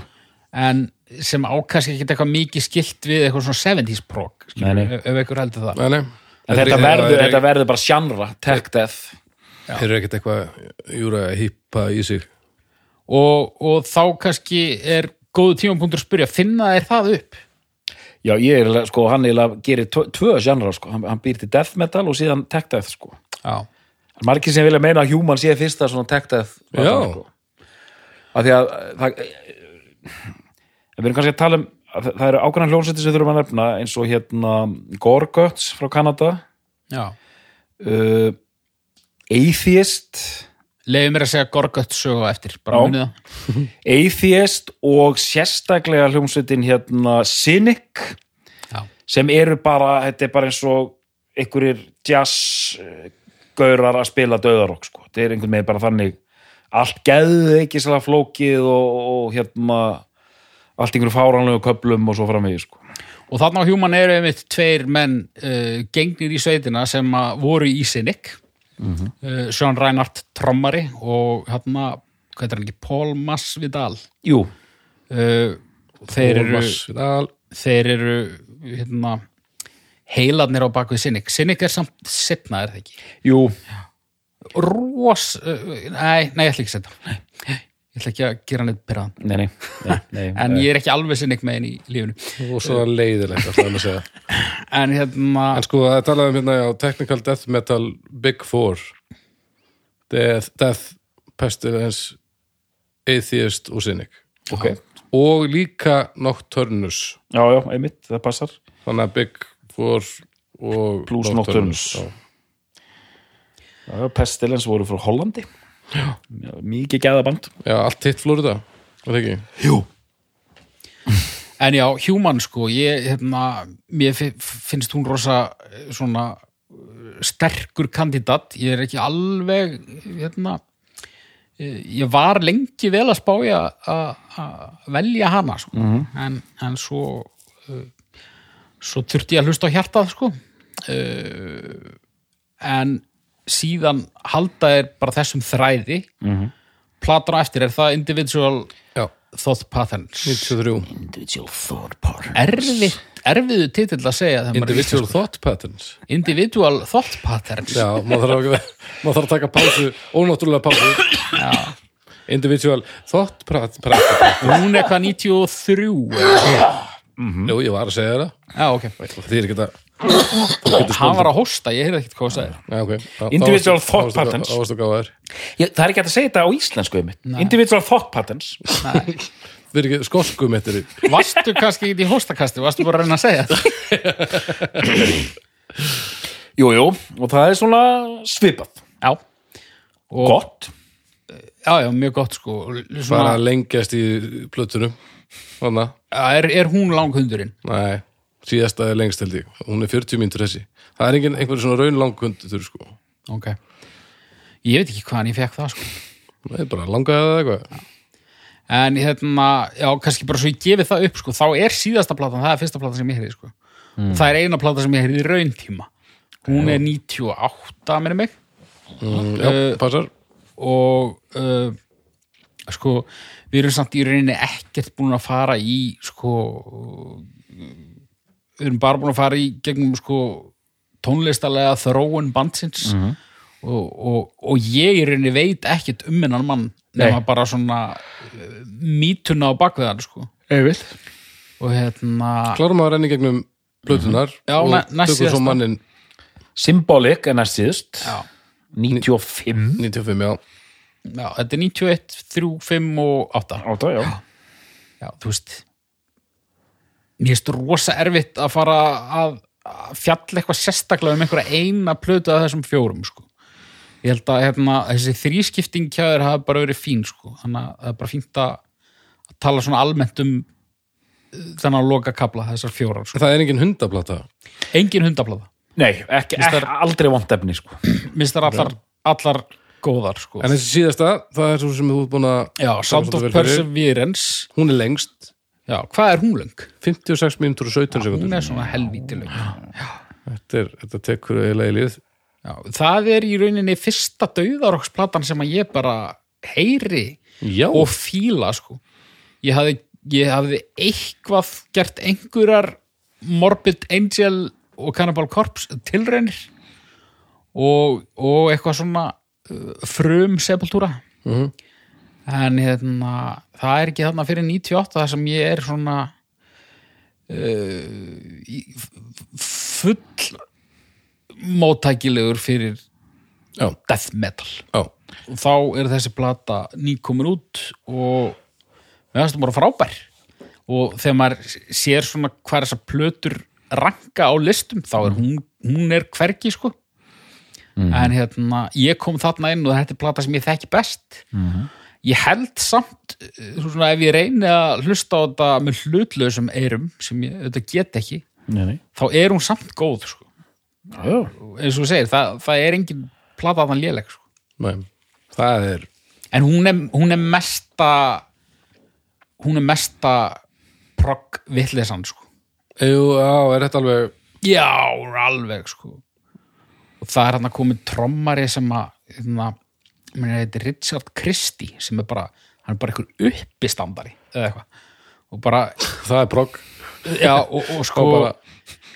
en sem ákast ekki eitthvað mikið skilt við eitthvað svona 70s prog Nei, nei. skilur, ef, ef einhver heldur það Nei, nei En þetta verður, þetta verður bara sjannra, tech death. Þeir eru ekkert eitthvað júra að hýpa í sig og, og þá kannski er góðu tímapunktur að spyrja, finna þeir það upp Já, ég er, sko, hann eiginlega gerir tvö, tvö sjannra, sko. Hann, hann býr til death metal og síðan tech death, sko. Já. En Margir sem vilja meina að Human sé fyrsta svona tech death. Já. platan, Sko. Af því að það, við erum kannski að tala um, að það eru ákveðan hljónsætti sem þurfum að nefna eins og hérna Gorguts frá Kanada, Já. uh, Atheist, leiði mér að segja Gorgött sögu á eftir bara Já. munið það Atheist og sérstaklega hljómsveitin hérna Cynic Já. sem eru bara, þetta er bara eins og einhverjir jazz eh, gaurar að spila döðarokk sko. þetta er einhvern veginn bara þannig allt geðu ekki sérlega flókið og, og hérna allt einhverju fáranlegu köplum og svo framvegi sko. og þarna á Human eru einmitt tveir menn uh, gengnir í sveitina sem að voru í Sinik uh, Sjón Reinhardt trommari og hérna, hvað er hann ekki, Paul Masvidal Jú, uh, þeir eru Ormasvidal þeir eru hérna, heilarnir á bakvið Sinik Sinik er samt setna, er það ekki jú Rós, uh, nei, nei, ég ætla ekki að setja hann. Nei, ég ætla ekki að gera hann eitt pyrraðan Nei, nei, nei, nei en ég er ekki alveg Sinik megin í lífinu og svo leiðilegt alltaf að segja en hérna, En sko, það talaði um hérna á Technical Death Metal Big Four Death, Death Pestilence Atheist og Cynic Ok. og líka Nocturnus Já, já, einmitt, það passar þannig að Big Four og Plus Nocturnus. já. já, já, Pestilens voru frá Hollandi já. Mikið geðaband Já, allt hitt Florida var það ekki? En já, Human sko, ég, hérna, mér fi- finnst hún rosa eh, svona eh, sterkur kandidat, ég er ekki alveg, hérna, eh, ég var lengi vel að spája að velja hana sko, en, en svo, eh, svo þurfti ég að hlusta á hjartað sko, Eh, en síðan halda er bara þessum þræði, mm -hmm. platur á eftir, er það individual Já, thought patterns? 93 Individual thought part erfitt, erfiðu titill að segja þegar maður er Individual Thought Patterns íslenskur. individual thought patterns Já, maður þarf, að, maður þarf að taka pásu ónáttúrulega pásu Individual Thought Pat- Patterns hún er hvað 93 eða- Jú, ég var að segja það já ok, Því er ekki að hann var að hósta, ég heyrði ekkert hvað það er Já, ok. Þá- Individual þá varstu- thought þá varstu- patterns. Þá varstu gáðar. Ég, það er ekki hægt að segja þetta á íslensku einmitt. Individual thought patterns Við erum ekki skoskum eftir því. varstu kannski ekki í hóstakasti, varstu bara að reyna að segja það Jú, jú, og það er svona svipað já, og, Gott já, já, mjög gott sko Bara Svona, að lengjast í plötunum. Þannig, er, er hún langhundurinn nei, síðasta er lengst held ég. Hún er 40 mínútur þessi. Það er engin einhver svona raun langkundur, sko. ok ég veit ekki hvaðan ég fekk það sko Það er bara langaði eða eitthvað. en hérna, já, kannski bara svo ég gefi það upp sko, þá er síðasta platan, það er fyrsta platan sem ég heyrði sko, og það er eina platan sem ég heyrði í rauntíma, hún er 98 minni mig Mm, já, passar. og uh, sko, við erum samt í rauninni ekkert búin að fara í sko við erum bara búin að fara í gegnum sko tónlistalega þróun bandsins og, og, og ég í rauninni veit ekkert um hennan mann nema bara svona uh, mítuna á bakveðan sko Efill og hérna Klárum að renni gegnum plötunar Já, og næ- tökum næst svo síðasta. mannin Symbolic en að síðust já, 95 95, já. já, þetta er 91, 3, 5 og 8 Átta, já já, þú veist mér finnst rosa erfitt að fara að, að fjalla eitthvað sérstaklega um einhverja eina plötu að þessum fjórum sko. ég held að hérna, þessi þrískipting kjáður hafa bara verið fín sko. þannig að það er bara fínt að, að tala svona almennt um þannig að loka kapla þessar fjórar sko. Það er engin hundaplata engin hundablada, Nei, ekki, ekki, aldrei vont efni sko. minnst þar allar, allar góðar sko. En þessi síðasta, það er svo sem þú er búin að já, Sound of vel fyrir. Perseverance Hún er lengst, já, hvað er hún löng? 56 mínútur og 17 hún sekundur er svona helvíti löng Þetta, er, þetta tekur eiginlega í lið já, það er í rauninni fyrsta dauðaroksplatan sem að ég bara heyri Já, og fíla sko. ég hafði, ég hafði eitthvað gert einhverjar Morbid Angel og Cannibal Corpse tilraunir og, og eitthvað svona uh, frum sepultúra en hérna, það er ekki þarna fyrir 98 það sem ég er svona uh, í- f- full móttækilegur fyrir Já. death metal já, og þá er þessi plata nýkomin út og mér finnst það bara frábær og þegar maður sér svona hvað þessar plötur ranka á listum Mm. þá er hún, hún er hvergi sko en hérna ég kom þarna inn og þetta er plata sem ég þekki best Mhm. ég held samt eh, svona ef ég reyni að hlusta á þetta með hlutlausum eyrum sem ég þetta get ekki Nei, nei þá er hún samt góð sko. Já, eins og þú segir, það, það er engin plata þann léleg sko. nei Það er, En hún er, hún er mesta hún er mesta progg vittlesan sko. jú, já, er þetta alveg Já, alveg sko. og það er hann að komið trommari sem að hérna, meni, heiti Richard Christie sem er bara, hann er bara einhver uppistandari eða eitthvað og bara, Það er progg já, og, og sko Og bara-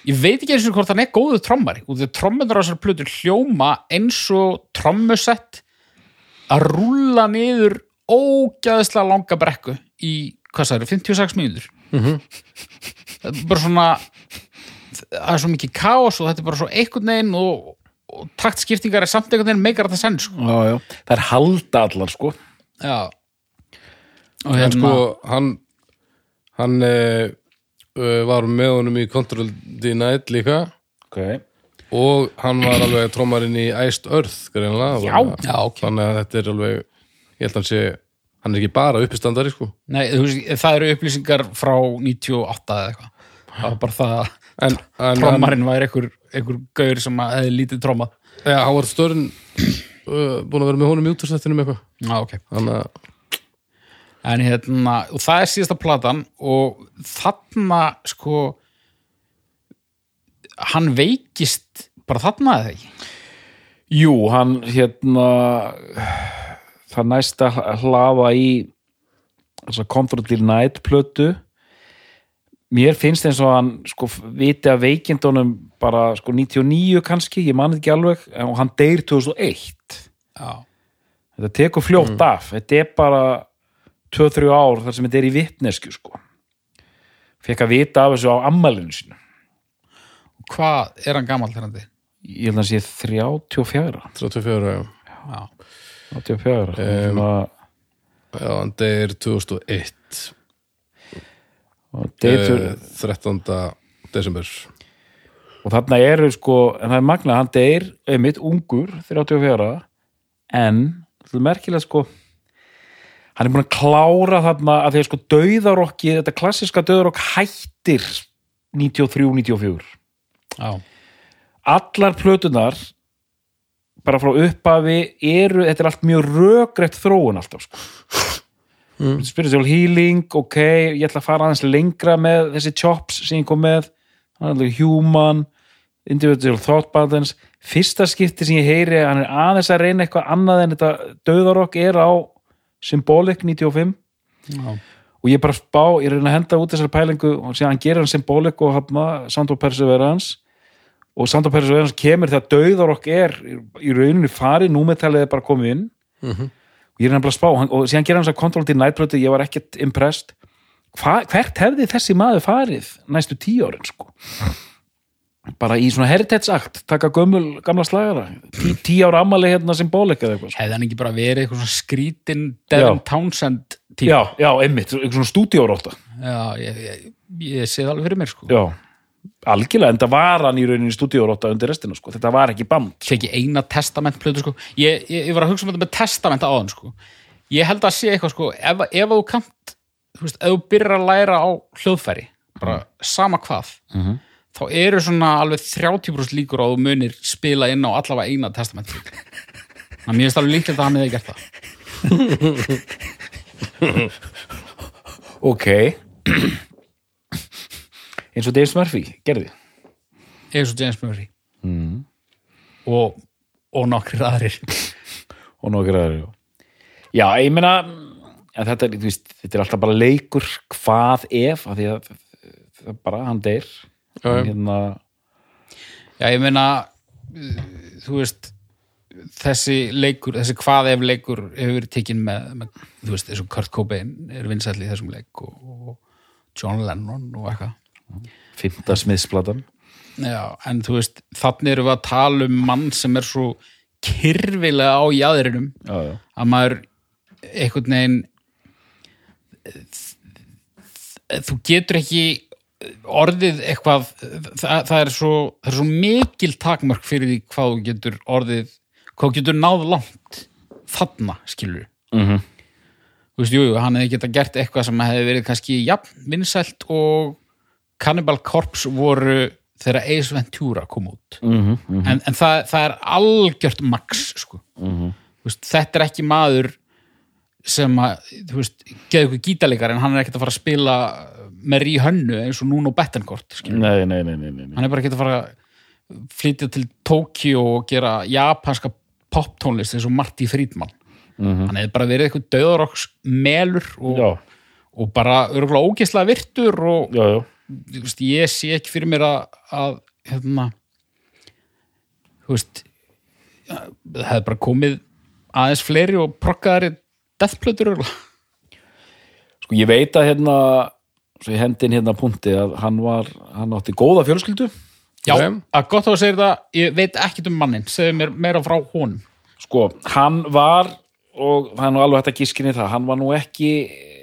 ég veit ekki eins og hvort hann er góðu trommari og því að trommunar á þessar plötur hljóma eins og trommusett að rúlla niður ógæðslega langa brekku í, hvað sagði, 56 mínútur Mhm. það er bara svona það er svo mikið kaos og þetta er bara svo einhvern veginn og, og taktskiptingar er samt einhvern veginn meikar þetta senn sko. já, já Það er halda allar sko já og En hérna, sko, hann hann uh, var með honum í Control D Night líka okay. og hann var alveg trómarinn í Iced Earth greinlega Já, Þannig að- já, ok. þannig að þetta er alveg ég held að hann sé, hann er ekki bara uppistandari sko. nei, þú veist, það eru upplýsingar frá 98 eða eitthvað það var bara það en, en trommarinn væri einhver, einhver gaur sem að hefði lítið trommað hann, ja, hann var störn uh, búin að vera með honum í útastættinum eitthvað Já, ok. þannig að En hérna, og það er síðasta platan og þarna, sko, hann veikist bara þarna eða ekki. Jú, hann hérna það næsta hlaða í þessa Comfort Deal Night plötu mér finnst eins og hann sko viti að veikindunum bara sko 99 kannski, ég man ekki alveg og hann deyr 2001 Já. þetta tekur fljótt af þetta er bara 2-3 ár þar sem þetta er í vitnesku sko fekk að vita af þessu á ammælinu sínu Hvað er hann gamall þegar hann þið? ég held að hann sé 34 34 já, 84 um, já hann deyr 2001 og, deytur, eh, 13. desember og þarna eru sko en það er magnað, hann deyr einmitt ungur 34 en það er merkilega sko hann er búin að klára þarna að þegar sko döðarokki, þetta klassiska döðarokk hættir 93-94 Já. allar plötunar bara frá upphafi eru, þetta er allt mjög rökrætt þróun alltaf sko. mm. spiritual healing, ok ég ætla að fara aðeins lengra með þessi chops sem ég kom með hann er alveg human, individual thought patterns fyrsta skipti sem ég heyri að hann er aðeins að reyna eitthvað annað en þetta döðarokk er á Symbolic 95 Já. og ég bara spá, ég reyna að henda út þessar pælingu og síðan hann gerir hann symbolik og hafna Sound of Perseverance og Sound of Perseverance kemur þegar döðarokk er í rauninni farið, númetalið er bara komið inn og ég reyna bara að spá hann, og síðan gerir hann þessar Control til nætbröti, ég var ekkert impressed Hva, hvert hefði þessi maður farið næstu tíu árin sko bara í svona heritage act taka gömul, gamla slagara Tí, tíu ára ammali hérna symbolik eða eitthvað sko. Hefði hann ekki bara verið eitthvað svona skrítin Devin Já. Townsend tíma? já, já, einmitt, einhver svona stúdíóróta Já, ég, ég, ég sé það alveg fyrir mér, sko. Já, algjörlega, en það var hann í rauninni stúdíórótta undir restina, sko. Þetta var ekki band. fekk ég eina testamentplötu sko. ég, ég, ég var að hugsa um þetta með testamenta áðan sko. ég held að sé eitthvað sko, ef, ef þú kannt þú veist, ef þú byrjar að læra á hljóðfæri, bara sama hvað -hmm. þá eru svona alveg 30% líkur á að þú munir spila inn á allavega eina testament þannig að mér finnst alveg líkilegt að hann hefði gert það ok eins og Davis Murphy gerði eins og James Murray mm. og, og nokkrir aðrir og nokkur aðra já. já, ég meina en þetta, er, þú veist, þetta er alltaf bara leikur hvað ef af því að það bara, hann deyr já. Hann hérna, Já, ég meina uh, þú veist þessi leikur, þessi hvað ef leikur hefur verið tekin með, með þú veist, eins og Kurt Cobain er vinsæll í þessum leik og, og John Lennon og eitthvað fymta smiðsplatan Já, en þú veist, þannig erum við að tala um mann sem er svo kyrfilega á jáðurinum já, já. að maður einhvern veginn þú getur ekki orðið eitthvað það, það, er, svo, það er svo mikil takmörk fyrir því hvað þú getur orðið hvað þú getur náð langt þarna skilur mm -hmm. þú veist, jú, jú, hann hefði geta gert eitthvað sem hefði verið kannski jafn vinsælt og Cannibal Corpse voru þegar Ace Ventura kom út mm -hmm. en, en það, það er algjört max sko Þú veist, þetta er ekki maður sem að, þú veist, geða ykkur gítalikar en hann er ekkert að fara að spila með rí hönnu eins og núna og Bettencourt skilur. nei, nei, nei, nei, nei, nei. Mm. hann er bara ekkert að fara að flytja til Tokyo og gera japanska poptónlist eins og Marty Friedman hann hefði bara verið eitthvað döðaroks melur Mhm. já, og, og bara örgulega ógeðslega virtur og, já, já þú veist, ég sé ekki fyrir mér að, að hérna þú veist það hefði bara komið aðeins fleiri og prokkaðari deathplötur örugglega. sko ég veit að hérna svo ég hendin hérna punkti að hann var hann átti góða fjölskyldu já, Ok. að gott þá að segja það, ég veit ekkit um mannin segðu mér meira frá honum sko, hann var og það er nú alveg hægt að gískinni það hann var nú ekki,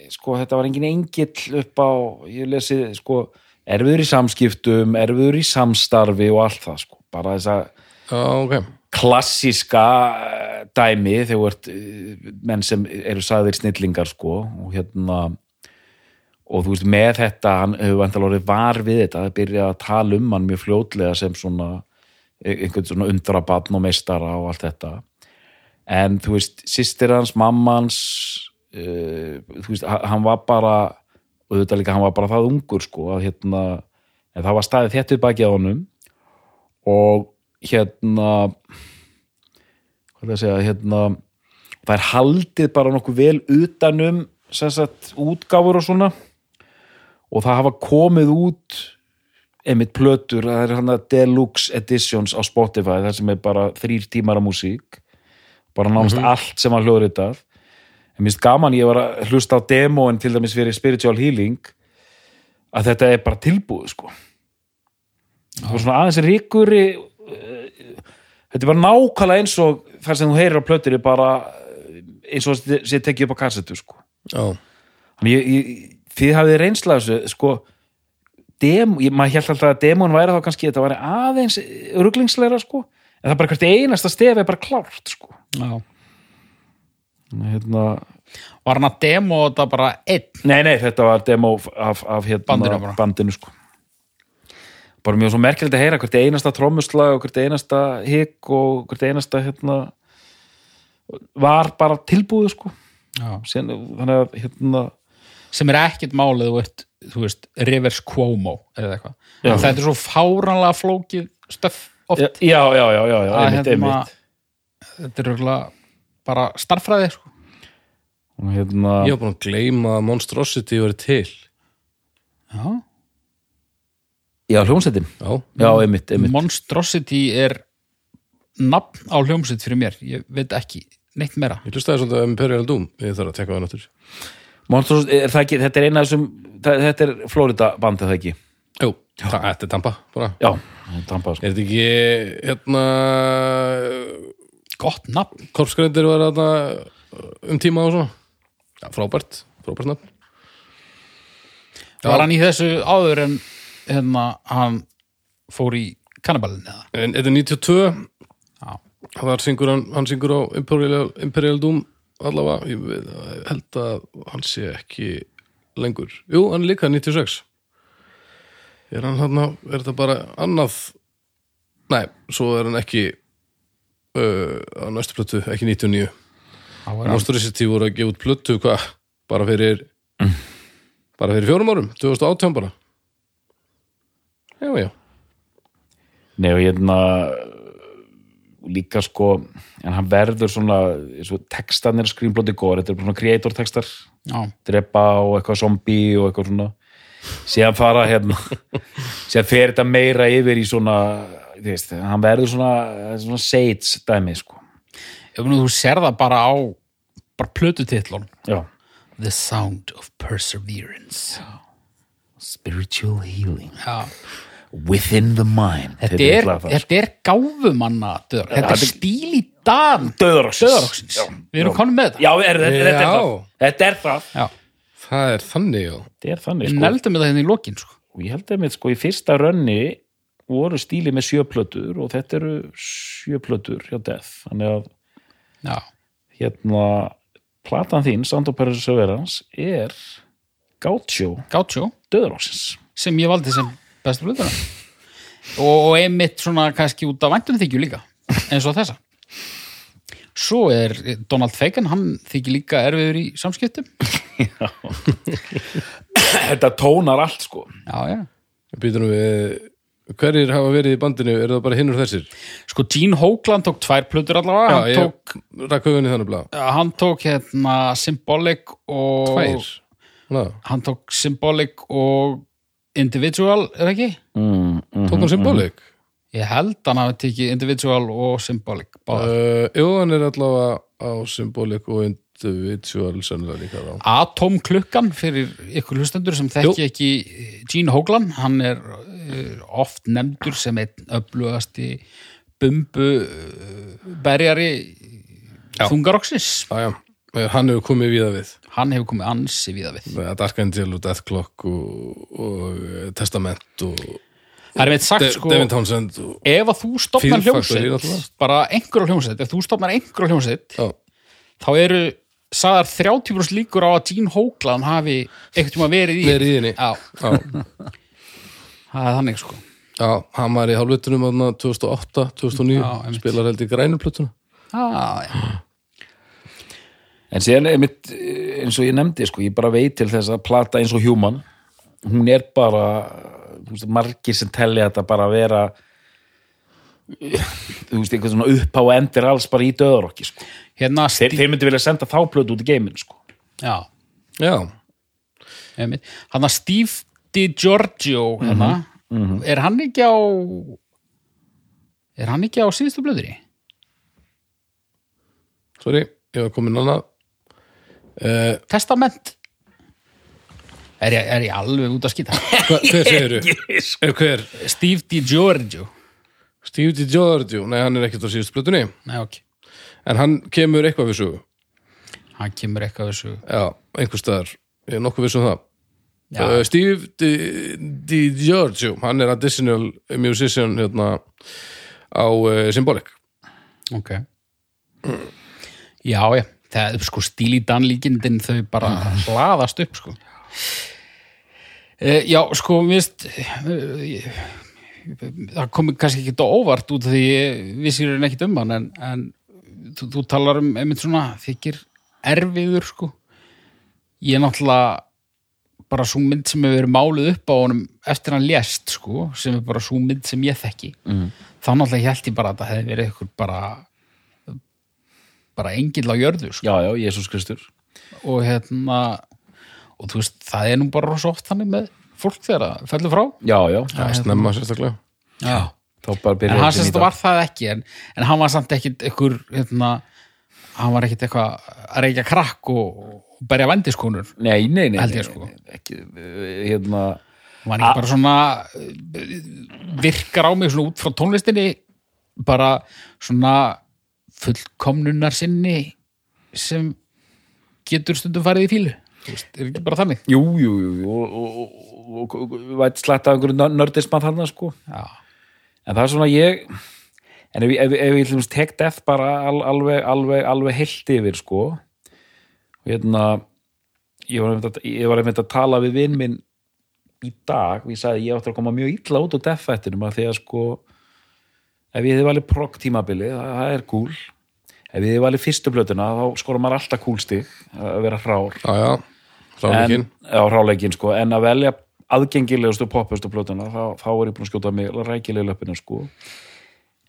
sko, þetta var engin engill upp á, ég lesi sko, erfiður í samskiptum erfiður í samstarfi og allt það sko, bara þess að Já, ok. klassíska eh, dæmi þegar þú ert eh, menn sem eru sagðir snillingar sko og hérna og þú veist með þetta hann hefur vantal orðið var við þetta það byrja að tala um hann mjög fljótlega sem svona eh, einhvern svona undrabatn og meistara og allt þetta en þú veist sýstir hans, mammans uh, þú veist, ha- hann var bara og þetta líka hann var bara það ungur sko að hérna, en það var staðið þetta upp að honum og hérna hvað er að segja hérna, það er haldið bara nokkuð vel utanum sem sagt útgáfur og svona og það hafa komið út einmitt plötur, það er hann að Deluxe Editions á Spotify, það sem er bara þrýr tímar af músík bara nánast allt sem hann hljóður þetta en minnst gaman, ég var að hlusta á demóin til dæmis fyrir Spiritual Healing að þetta er bara tilbúið sko það var svona aðeins ríkuri Þetta er bara nákvæmlega eins og þar sem þú heyrir á plötur er bara eh, eins og þess að sé tekið upp á kassetu sko. Já, Þannig ég, ég, þið hafið reynslað þessu sko, dem, ég, maður held alltaf að demon væri þá kannski þetta væri aðeins ruglingsleira sko, en það er bara hvert einasta stefi er bara klárt sko. já. Þannig, hérna, var hann að demo þetta bara einn nei, nei, þetta var demo af, af hérna, Bandinu bara. bandinu sko. bara mjög svo merkilegt að heyra hvert einasta trómuslag og hvert einasta hik og hvert einasta hérna, var bara tilbúið sko. já. Sen, þannig að hérna sem er ekkit málið þú veist, þú veist reverse Cuomo eða eitthvað Já. En þetta er svo fáranlega flókið stöf oft já, já, já, já, já, að einmitt, hérna einmitt þetta er örugglega bara starffræði sko. og hérna, ég var búin að gleyma að Monstrosity verið til. já já, hljómsveitin Já, já, einmitt, einmitt, Monstrosity er nafn á hljómsveit fyrir mér ég veit ekki neitt meira ég hlustaði svolítið um Imperial Doom. Ég þarf að tekka það náttúr. Monstros, er það ekki, þetta er eina af þessum það, þetta er Florida bandið það ekki Jú, það þetta er Tampa, bara. já, Tampa, sko. Er þetta ekki, hérna, gott nafn korpsgreindir var þarna um tíma og svona? Já, frábært, frábært nafn. var hann í þessu áður en hérna hann fór í kannibalin eða En þetta er 92, já, þar syngur hann, hann syngur á Imperial, Imperial Doom allavega, ég við- held að hann sé ekki lengur jú, hann er líka 96 er hann hann er þetta bara annað nei, svo er hann ekki uh, á næstu plötu, ekki 99 Monstrosity voru að gefa út plötu hvað, bara fyrir bara fyrir fjórum árum, 2018 bara já, já Nei og hérna líka sko en hann verður svona svo textanir skrýmblóti góður, þetta er bara svona creator textar Já, drepa og eitthvað zombie og eitthvað svona síðan fara hérna síðan fer þetta meira yfir í svona þú veist, hann verður svona, svona seits dæmi sko ef nú þú sér það bara á bara plötutitlun já, The Sound of Perseverance Spiritual healing Já, Within the mind þetta er, þetta er gáfumanna döður, þetta er stíl í dag döðraksins döðraksins, við erum konum með þetta já, er, þetta, þetta er Já. það þetta er það, Já. það er þannig, já þetta er þannig við sko. neldum þetta hérna í lokin sko. og ég held að með sko í fyrsta rönni voru stíli með sjöplötur og þetta eru sjöplötur hjá Death, þannig að Já, hérna platan þín, Sound of Perseverance er Gaucho gátsjó döðraksins sem ég valdi sem bestu blöðuna og, og einmitt svona kannski út af væntum þykju líka eins og þessa svo er Donald Fagan hann þykir líka erfiður í samskiptum þetta tónar allt sko já, já. Býtum við Hverjir hafa verið í bandinu, eru það bara hinnur þessir? sko Gene Hoagland tók tvær plöður allavega hann, tók, ég rakk höfunni þannig blá Eh, hann tók hérna Symbolic og Tvær Ná, hann tók Symbolic og Individual er ekki? Mm, tók hann symbolik ég held hann hafi tekið Individual og Symbolic báðar. uh, Jú, hann er allavega á symbolik og individual sennilega líka þá Atomklukkan fyrir ykkur hlustendur sem þekki ekki eh, Gene Hoglan, hann er uh, oft nefndur sem einn öflugasti bumbu uh, berjari þungaroksis Æja, Eh, hann hefur komið víða við hann hefur komið ansi viða við Með Dark Angel og Death Clock og, og eh, Testament og það er meitt sagt De sko Devin Townsend og, ef að þú stopnar Fear Factor er hljómsveit náttúrulega. bara einhverja hljómsveit, ef þú stopnar einhverja hljómsveit já, þá eru sagðar 30% líkur á að Gene Hoglan hafi einhvern tíma verið í Verið í henni. já, já, það er þannig sko já, hann var í hálfvitunum 2008, 2009 Já, einmitt. spilar held í grænuplötuna ah, já. en síðan er mitt, eh, eins og ég nefndi sko, ég bara veit til þess að plata eins og human hún er bara þú veist, margir sem telja þetta bara að vera þú veist, einhvern svona upp á endir alls bara í döður okki sko. hérna þeir, Steve þeir myndu vilja senda þá plötu út í geimin sko. Já, Já, einmitt. hann að Steve DiGiorgio Mhm, hérna, er hann ekki á er hann ekki á síðustu blöðri? sorry, ég var komin annað uh, Testament er ég, er ég alveg út að skýta hva, Hver segirðu? Eh, Hver? Steve DiGiorgio Steve DiGiorgio, nei hann er ekkert á síðustu plötunni Nei, ok, en hann kemur eitthvað við sögu hann kemur eitthvað þessu já, einhvers staðar, ég er nokkuð við sögum það Já. Eh, Steve Di- DiGiorgio hann er additional musician hérna á uh, Symbolic Ok Já, já, það er sko stíl í danlíkindin þau bara hlaðast upp sko e, Já, sko, mist það komi kannski ekki á óvart út af því ég vissi raun ekkit um hann en, en þú, þú talar um einmitt svona þykir erfiður sko ég er náttúrulega bara svo mynd sem hefur verið máluð upp á honum eftir hann lést sko sem er bara svo mynd sem ég þekki mm. þá náttúrulega held ég bara að það hefði verið ykkur bara bara engill á jörðu sko já, já, Jésús Kristur og hérna og þú veist, það er nú bara svo oft þannig með fólk þegar það fellur frá já, já, það snemma sérstaklega Já. þá bara byrja en hann sem þetta var það ekki en, en hann var samt ekkit ykkur hérna, hann var ekkit eitthvað að reykja krakk og, og berja vendiskonur nei, nei, nei, Held nei, nei, ég, sko. nei ekki, eh, hérna hann var ekki bara svona eh, virkar á mig svona út frá tónlistinni bara svona fullkomnunar sinni sem getur stundum farið í fílu Þú veist, er ekki bara þannig jú, jú, jú, jú og, og, og, og, og vætt slætt af einhverju nördismann þarna sko Já. en það er svona ég en ef, ef, ef ég til dæmis tek death bara al, alveg, alveg, alveg heilt yfir sko og hérna ég var einmitt að, ég var einmitt að tala við vinn minn í dag og ég sagði að ég átti að koma mjög illa út á deffættinum að því að sko ef ég hefði valið progg tímabili, það, það er cool ef ég hefði valið fyrstu blötuna þá skora maður alltaf kúlstig að vera hrár já, já, en, ráleikin já, hráleikin sko, en að velja aðgengilegustu poppustu plötuna þá, þá er ég búin að skjóta mig rækilega löpina sko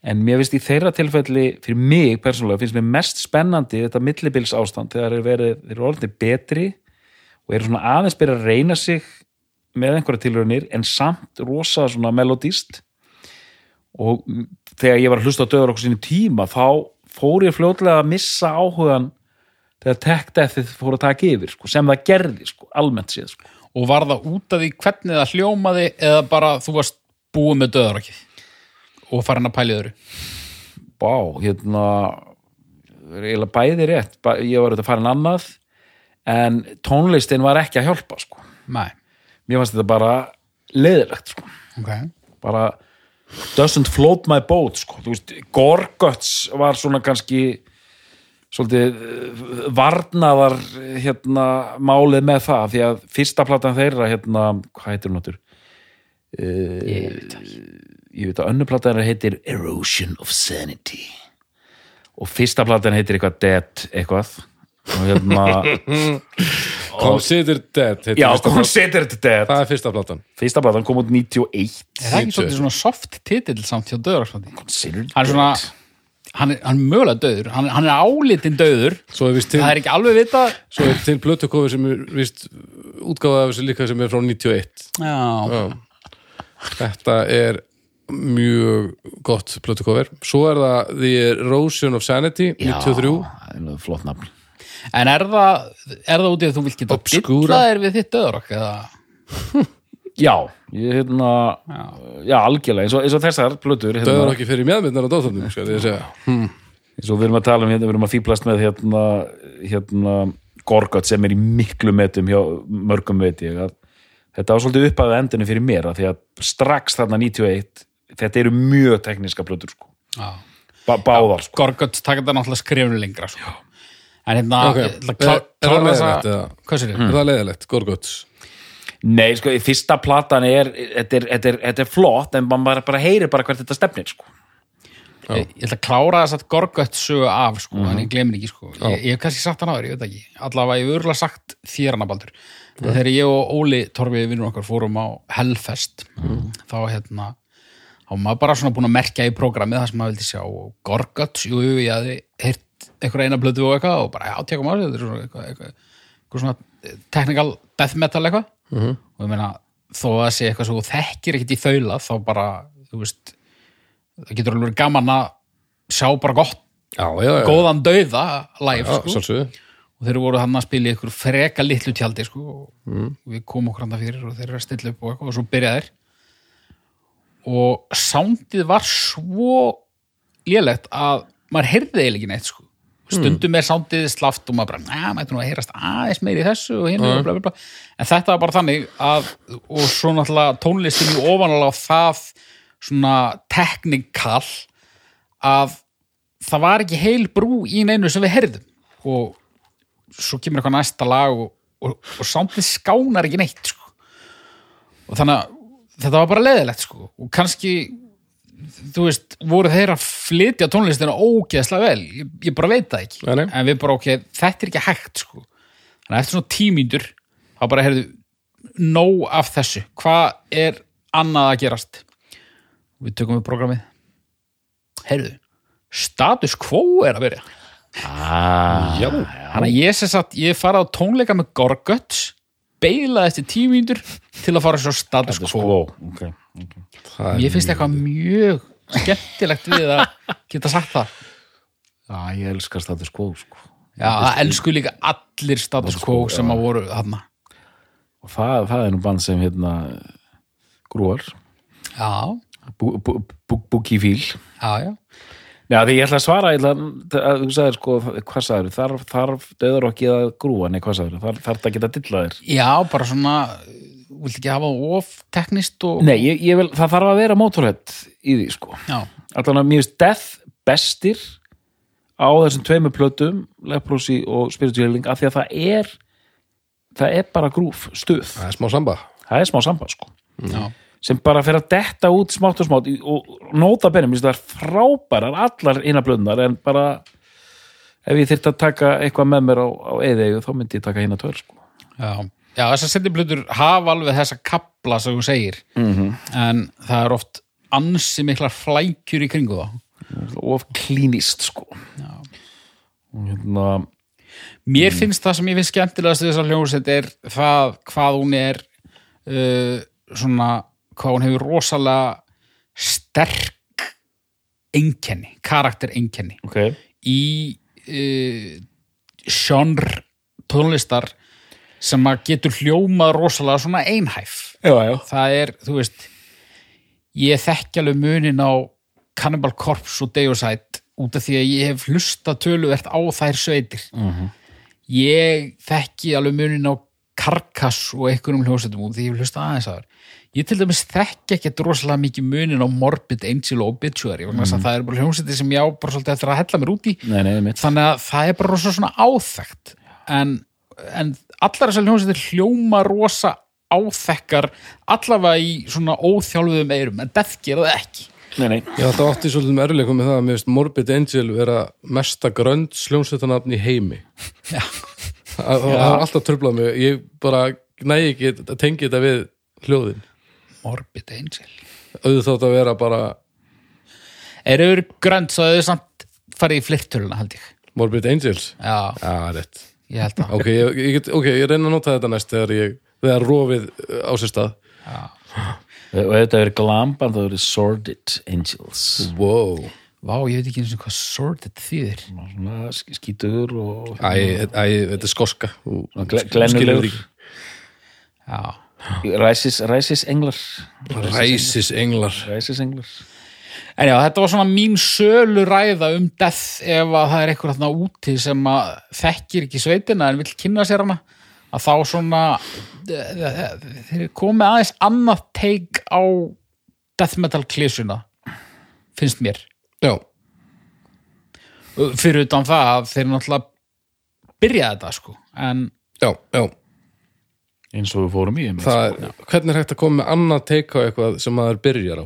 en mér finnst í þeirra tilfelli fyrir mig persónulega finnst mér mest spennandi þetta millibils ástand þegar þeir verið, þeir eru orðinni betri og eru svona aðeins byrja að reyna sig með einhverja tilraunir en samt rosa svona melodist og mm, þegar ég var að hlusta á döður okkur sinni tíma þá fór ég fljótlega að missa áhugan þegar tech deathið fór að taka yfir sko, sem það gerði sko, almennt séð sko. og var það út af því hvernig það hljómaði eða bara þú varst búið með döðarokkið og farin að pæli öðru Bá, hérna er eiginlega bæði rétt Bæ, ég var auðvitað farin annað en tónlistin var ekki að hjálpa sko. Nei, mér fannst þetta bara leiðilegt sko. ok bara doesn't float my boat sko. Þú veist, Gorguts var svona kannski svolítið eh, varnaðar eh, hérna, málið með það því að fyrsta platan þeirra hérna, hvað heitir hún áttur? Ég veit ekki. ég veit að önnu platan þeirra heitir Erosion of sanity. og fyrsta platan heitir eitthvað Dead eitthvað og hérna, Consider Dead heitir já, fyrsta platan. Considered Dead það er fyrsta platan fyrsta platan kom út 91 Er það 70? ekki svolítið svona soft titill samt hjá döðarokkið Considered hann er svona hann er, hann er mögulega döður, hann, hann er álitinn döður svo er vist til, það er ekki alveg vita svo er til blötukofi sem er vist útgáfa af þessu líka sem er frá 91 já, Já. Þetta er mjög gott plötukofir. Svo er það The Erosion of Sanity, 93 það er nú flott nafn. en er það er það út í að þú vilt geta Obscura. dilla þér við þitt döðarokk eða já, ég hérna já, algjörlega, eins og, eins og þessar plötur hérna, Döður ekki fyrir mjöðmyndar á dátunum, skal ég segja. eins og við erum að tala um hérna, við erum að fýblast með hérna, hérna Gorgat sem er í miklu metum hjá mörgum veit ég að þetta var svolítið upp að endinu fyrir mér að því að strax þarna 91 þetta eru mjög tekníska plötur sko. Já. ba báðar sko. Gorguts taka þetta náttúrulega skrifinu lengra sko. en hérna Ok. ég ætla að klá- Er- er það klára þessa- leiðinlegt eða? hvað sér Er það leiðilegt, Gorguts? nei, sko, í fyrsta platan er þetta er, þetta er, þetta er flott en maður bara- bara heyrir bara hvert þetta stefnir sko. ég, ég ætla að klára þess að Gorguts sögu af sko, en ég glemir ekki sko. ég, ég hef kannski sagt hann áður, ég veit ekki allavega ég hef örgulega sagt þér hann að baldur þegar ég og Óli Torfi vinnur okkar fórum á Hellfest þá hérna þá var maður bara svona búin að merkja í prógramið það sem maður vildi sjá og Gorguts, jú, jú, ég hafði heyrt einhverja eina blötu og eitthvað og bara, já, tekum á þessu, þetta er svona eitthvað, eitthvað, eitthvað svona eh, technical death metal eitthvað og ég meina, þó að það sé eitthvað svo þú þekkir ekkit í þaula, þá bara þú veist, það getur alveg verið gaman að sjá bara gott Já, já, já. góðan dauða live, Já, sko sjálfsögðu. og þeir voru hann að spila í ykkur freka litlu tjaldi sko, og Mm. við komum okkur hann fyrir og þeir eru að stilla upp og eitthvað og svo byrja þeir og soundið var svo lélegt að maður heyrði eiginlega ekki neitt sko. Mm. stundum er soundið slaft og maður bara, neða, maður nú að heyrast aðeins meiri í þessu og Mm. hinu og bla bla bla en þetta var bara þannig að og svo náttúrulega tónlistin í ofanálega það svona teknikall að það var ekki heil brú í neinu sem við heyrðum og svo kemur eitthvað næsta lag og, og, og soundið skánar ekki neitt sko. og þannig að þetta var bara leðilegt sko. og kannski þú veist, voru þeir að flytja tónlistina ógeðslega vel ég, ég bara veit það ekki Nei, nei. en við bara ok, þetta er ekki hægt sko. þannig að eftir svona tímyndur þá bara heyrðu nóg af þessu, hvað er annað að gerast við tökum við programmið heyrðu, status quo er að byrja Ah, Já. Þannig að ég sem sagt, ég fara á tónleika með Gorguts, beilaði eftir tímíndur til að fara svo status quo. Ó, okay. Það er- Mér finnst eitthvað mjög skemmtilegt við að geta sagt það. Já, ég elskar status quo sko. Já, það elsku líka allir status quo sem að voru þarna. og það, það er nú band sem hérna, grúar Já, bú, bú, bú, búki fíl já, já. Já, því ég ætla að svara, ég ætla að, að þú sagðir sko, hvað sagðir, þarf, þarf döður okki að grúa, nei, hvað sagðir, þarf, þarf það að geta dilla þér? Já, bara svona, vilt ekki hafa það of teknist og... Nei, ég, ég vil, það þarf að vera mótorhett í því, sko. Já, Allan að mér finnst Death bestir á þessum tveimur plötum, Leprosi og Spiritual Healing, af því að það er það er bara grúf, stuð það er smá samba það er smá samband sko Já. sem bara fer að detta út smátt og smátt í- og nóta benni, minnst það er frábærar allar innablöðnar en bara ef ég þyrfti að taka eitthvað með mér á, á eðeigu þá myndi ég taka hérna tvör sko. Já, já þessar setjublutur hafa alveg þessa kapla sem þú segir -hmm. en það er oft ansi miklar flækjur í kringu það of klínist sko Og hérna, Mér finnst það sem ég finnst skemmtilegast við þessar hljómsveit er það hvað hún er uh, svona hvað hún hefur rosalega sterk einkenni, karakter einkenni ok í uh, sjónr tónlistar sem að getur hljómað rosalega svona einhæf já, já. það er, þú veist ég þekki alveg munin á Cannibal Corpse og Deicide út af því að ég hef hlusta töluvert á þær sveitir ég þekki alveg munin á Karkas og einhverjum hljósetum út af því ég hef hlusta aðeins að þar ég til dæmis þekki ekkert rosalega mikið munin á Morbid Angel og Obituary mm -hmm. það eru bara hljósetir sem ég á bara svolítið eftir að hella mér út í Nei, nei, mitt. þannig að það er bara rosa svona áþekkt en, en allar þessar hljómsveitir hljóma rosa áþekkar allavega í svona óþjálfuðum eirum en Death gera það ekki Nei, nei. ég átti átti svolítið með erleikum með það að mér veist Morbid Angel vera mesta grönd sljómsveitanafn í heimi það það var alltaf tröflað mig ég bara næg ekki að tengja þetta við hljóðin Morbid Angel auðvitað að vera bara Eru yfir grönt svo þau samt farið í flirtöluna held ég Morbid Angels Já, já, rétt ég held það ok, ég, ég, get- ok, ég reyna að nota þetta næst þegar ég þegar rofið uh, á sér stað Og ef þetta verið glamban þá verið Sordid Angels wow, Vá, ég veit ekki eins og hvað sorted þýðir Svona sk- skítugur og æ, æ, þetta er skoska Þú- gl- þú glennulegur. skilur ekki. Já, ræsis, ræsis englar ræsis englar ræsis englar En já, þetta var svona mín sölu ræða um death ef að það er eitthvað þarna úti sem að þekkir ekki sveitina en vill kynna sér hana að þá svona eh, þeir komið aðeins annað teik á death metal klísuna finnst mér já, fyrir utan það að þeir náttúrulega byrja þetta sko en já, já eins og við fórum í einmitt. það, hvernig er hægt að koma með annað teika á eitthvað sem maður byrjar á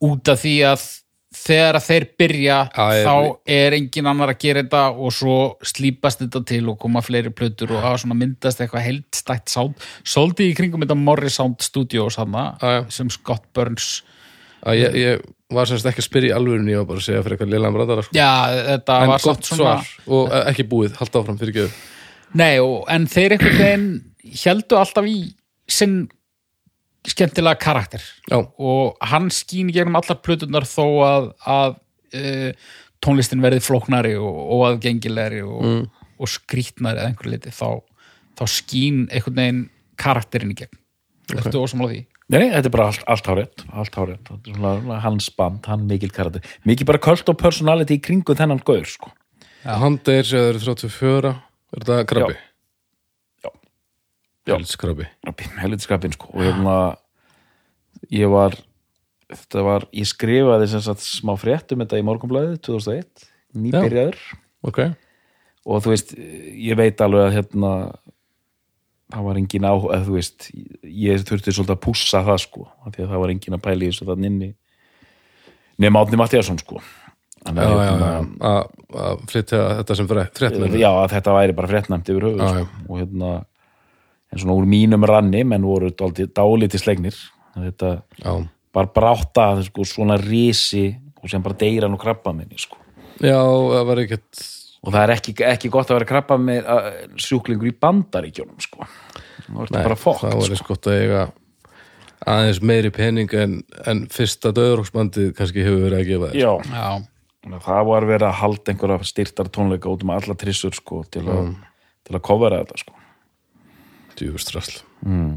út af því að þegar að þeir byrja Já, ég- þá er engin annar að gera þetta og svo slípast þetta til og koma fleiri plötur og hafa svona myndast eitthvað heldstætt sound svolítið í kringum þetta Morris Sound Studios hana, Já, já. sem Scott Burns að ég, ég var semst ekki að spyrja í alvörunni og bara að segja fyrir eitthvað liðlega brandara sko. já, þetta en var gott samt svona svar og eh, ekki búið, halda áfram fyrir gjöðu Nei, og, en þeir einhvern veginn heldu alltaf í sinn skemmtilega karakter já, og hann skín í gegnum allar plötunar þó að, að uh, tónlistin verði flóknari og óaðgengilegri og, og skrýtnari eða einhverju liti þá, þá skín einhvern veginn karakterinn í gegn okay. Ertu ósamlega því? Nei, nei, þetta er bara allt, allt hárétt, allt hárétt. Þetta er svona- svona hans band, hann mikil karatir mikil bara kvöld og personality í kringu þennan gaur, sko hann deyr sem þeir eru 34 er þetta krabbi? Já. Já. Pelskrabbi. helviti skapin, sko og hérna, ég var þetta var, ég skrifaði sem sagt smá frétt um þetta í morgunblæði 2001, nýbyrjaður ok, og þú veist, ég veit alveg að hérna það var engin á, eða þú veist ég þurfti svolítið að pússa það sko af því að það var engin að pæla í þessu þannig inni nema Átni Mattiasson sko Þannig já, að, já, hérna, já, að, að flytja þetta sem fréttnir já, að þetta væri bara fréttnæmt yfir höfuð Mm-hmm. Já, sko. og hérna en svona úr mínum ranni, menn voru dálítið- dálítið slegnir En þetta já, bara brátt að sko, svona risi og sem bara deyra nú krabba minni sko já, það var ekkert og það er ekki, ekki gott að vera krabba með sjúklingur í bandaríkjónum sko. það er bara fokk sko. það var eins gott að eiga aðeins meiri pening en, en fyrsta döðróksbandið kannski hefur verið að gefa þér Já, Já, þannig að það var verið að halda einhverja styrtar tónleika út um alla trissur sko, til, að, Mm. til að kofera þetta sko. djúfustrasl mm.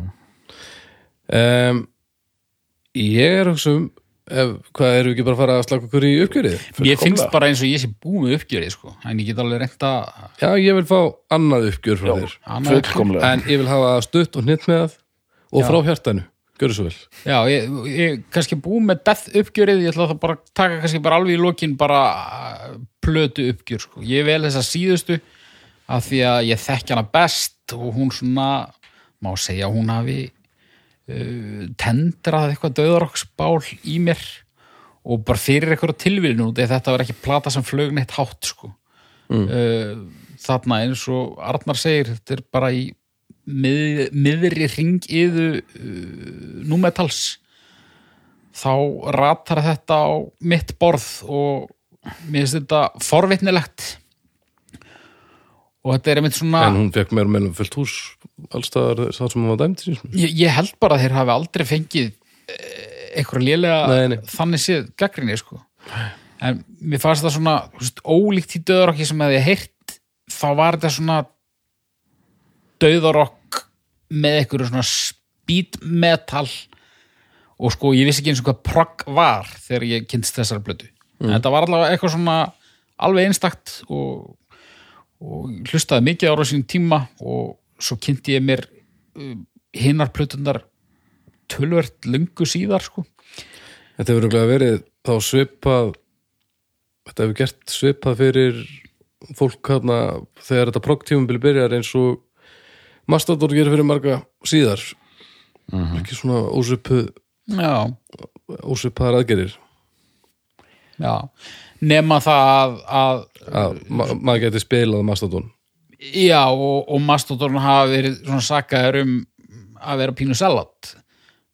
ég er að hugsa um ef, hvað erum við ekki bara að fara að slaka okkur í uppgjörið ég finnst bara eins og ég sé búið með uppgjörið sko, en ég get alveg reynda já, ég vil fá annað uppgjör frá þér fullkomlega en ég vil hafa það stutt og hnitt með það og frá hjartanu, gjörðu svo vel Já, ég, ég kannski búið með death uppgjörið, ég ætla það bara að taka kannski bara alveg í lokin bara uh, plötu uppgjör sko. Ég vel þessa síðustu af því að ég þekki hana best neitt og hún svona má segja að hún hafi uh, tendrað eitthvað döðarokksbál í mér og bara fyrir eitthvað tilvíðinu út eða þetta var ekki plata sem flög neitt hátt sko mm. þarna eins og Arnar segir þetta er bara í mið, miðri ring yðu uh, númetals þá ratar þetta á mitt borð og mér finnst þetta forvitnilegt og þetta er einmitt svona en hún fekk meira meina fullt hús allstaðar þar sem hún var dæmt síns mér. ég, ég held bara að þeir hafi aldrei fengið eitthvað Nei, nei. lélega þannig séð gaggrinni sko. en mér fannst það svona þú veist, ólíkt í döðarokki sem hefði heyrt þá var þetta svona döðarokk með einhverju svona speed metal og sko ég vissi ekki eins og hvað progg var þegar ég kynst þessari blötu Mm. en þetta var allavega eitthvað svona alveg einstakt og og hlustaði mikið ára sín tíma og svo kynnti ég mér uh, hinnar plötunar tölvert löngu síðar sko. þetta hefur örugglega verið þá svipað þetta hefur gert svipað fyrir fólk hana þegar þetta proggtífumbili byrjar eins og Mastador gerir fyrir marga síðar ekki svona ósvipuð Já, ósvipaðar aðgerir já. Nema það að, að ma maður geti spilað Mastadon að já, og, og Mastodorn hafa verið svona sakaður um að vera pínu salat.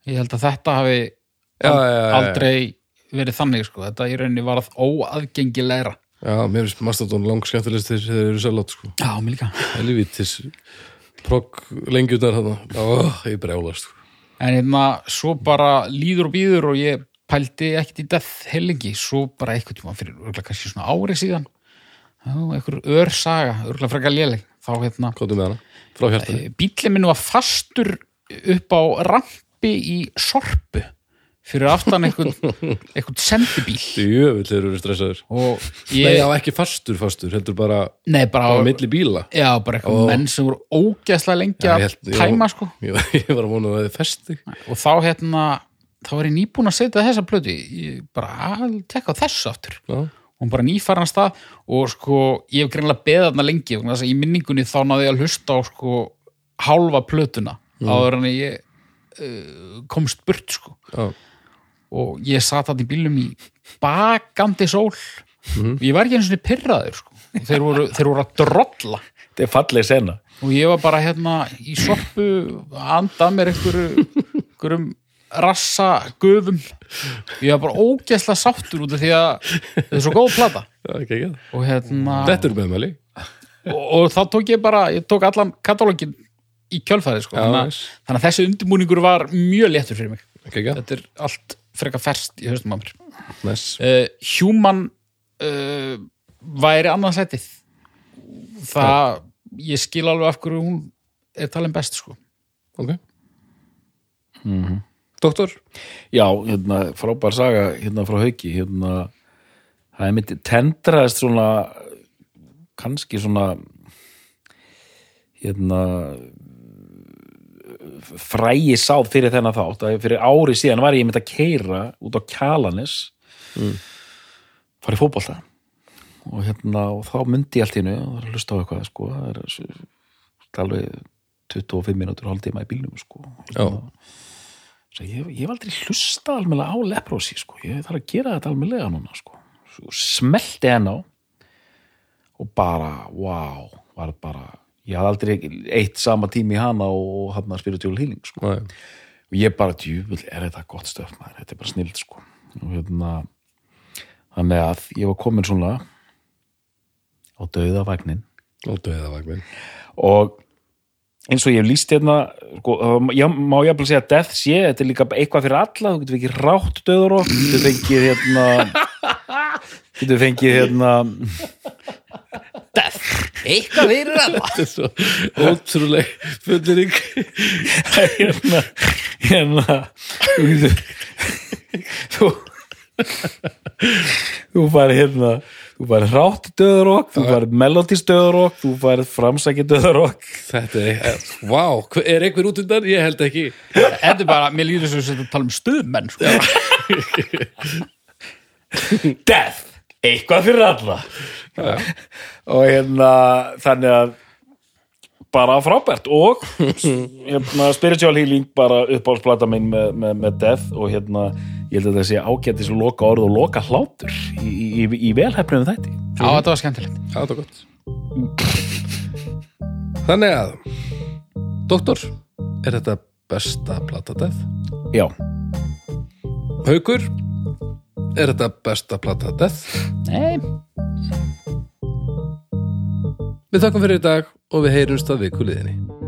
Ég held að þetta hafi Já, já, já, já. aldrei verið þannig sko. Þetta í rauninni varð óaðgengilegra. já, mér finnst Mastadon lang skemmtilegst þegar þeir eru sellátt sko Já, mér líka. helvítis progg lengjurnar þarna oh, ég brjálast sko. En hérna, svo bara líður og býður og ég pældi ekkert í death hellingi, svo bara eitthvað tíma fyrir örgulega kannski svona ári síðan þá einhver örsaga, örgulega frekar léleg þá hérna, hvað er með hana? frá hjartani bíllinn minn var fastur upp á rampi í sorpu fyrir aftan einhvern, einhvern sendibíl jöfnvill þeir eru stressaður og nei, ég, já, ekki fastur fastur, heldur bara nei á bara, milli bíla já, bara eitthvað menn sem voru ógeðslega lengi Já, að ég held- ég- tæma sko ég, ég var að vona að það er festi og þá hérna þá var ég nýbúin að setja þessa plötu ég bara að tekka á þessu aftur já, og hún bara nýfaran stað og sko ég hef greinlega beðið þarna lengi vegna þess að í minningunni þá náði ég að hlusta á sko hálfa plötuna áður en ég uh, komst burt sko já, og ég satt þarna í bílum í bakandi sól og ég var ekki eins og pyrraður sko þeir voru, þeir voru að drolla Þetta er falleg sena. og ég var bara hérna í soppu að anda mér einhverju einhverjum rassa gufum ég var bara ógeðslega sáttur út af því að þetta er svo góð plata já, ekki ekki og hérna þetta eru meðmæli og, og þá tók ég bara, ég tók allan katalógin í kjölfæði sko Já, þannig, veist. að- þannig að þessi undirbúningur var mjög léttur fyrir mig ekki ekki, þetta er allt frekar ferst í höstum á mér næs uh, Human uh, væri annað sætið það ég skil alveg af hverju hún er talin best sko ok doktor, Já, hérna, frábær saga hérna frá Hauki, hérna það er mitt tendraðist svona kannski svona hérna frægi sáð fyrir þennan þátt að fyrir ári síðan var ég mitt að keira út á Kjalanis mm. farið fótbolta og hérna, og þá myndi ég allt í hennu og það er að hlusta á eitthvað, sko það er svo- alveg 25 minútur hálftíma í bílnum, sko já, Svo ég, ég hef aldrei hlusta almennilega á leprosi sko. ég þarf að gera þetta almennilega núna sko. Svo smelti henn á og bara, wow var bara, ég hafði aldrei eitt sama tími í hana og hann að spiritual healing sko. næ, og ég bara, djúvill, er þetta gott stöf maður, þetta er bara snild sko. og hérna þannig að ég var komin svona á döðavagnin óttu eða vagnin og eins og ég hef líst hérna sko, það- já, má ég að segja að death sé þetta er líka bara eitthvað fyrir alla, þú getur fengið rátt döður og getur fengið hérna getur fengið hérna eitthvað fyrir alla þetta er svo ótrúleg fullir hérna hérna þú getur þú þú fær hérna þú fær rátt döður og þú fær melodist döður og þú fær framsækja döður og þetta er, eh, vá, hver- er einhver út undan? ég held ekki þetta er bara, mér líður svo sem þetta tala um stuðmenn sko. death, eitthvað fyrir alla og hérna þannig að bara frábært og hérna, spiritual healing bara uppáhaldsplata minn með, með, með death og hérna ég held að það sé ágætis loka orð og loka hlátur í, í, í- í velhefnum þetta Já, þetta var skemmtilegt. Já, þetta er gott. Þannig að, doktor, er þetta besta plata death? já, Haukur, er þetta besta plata death? Nei. Við þakkum fyrir í dag og við heyrumst að vikuliðinni.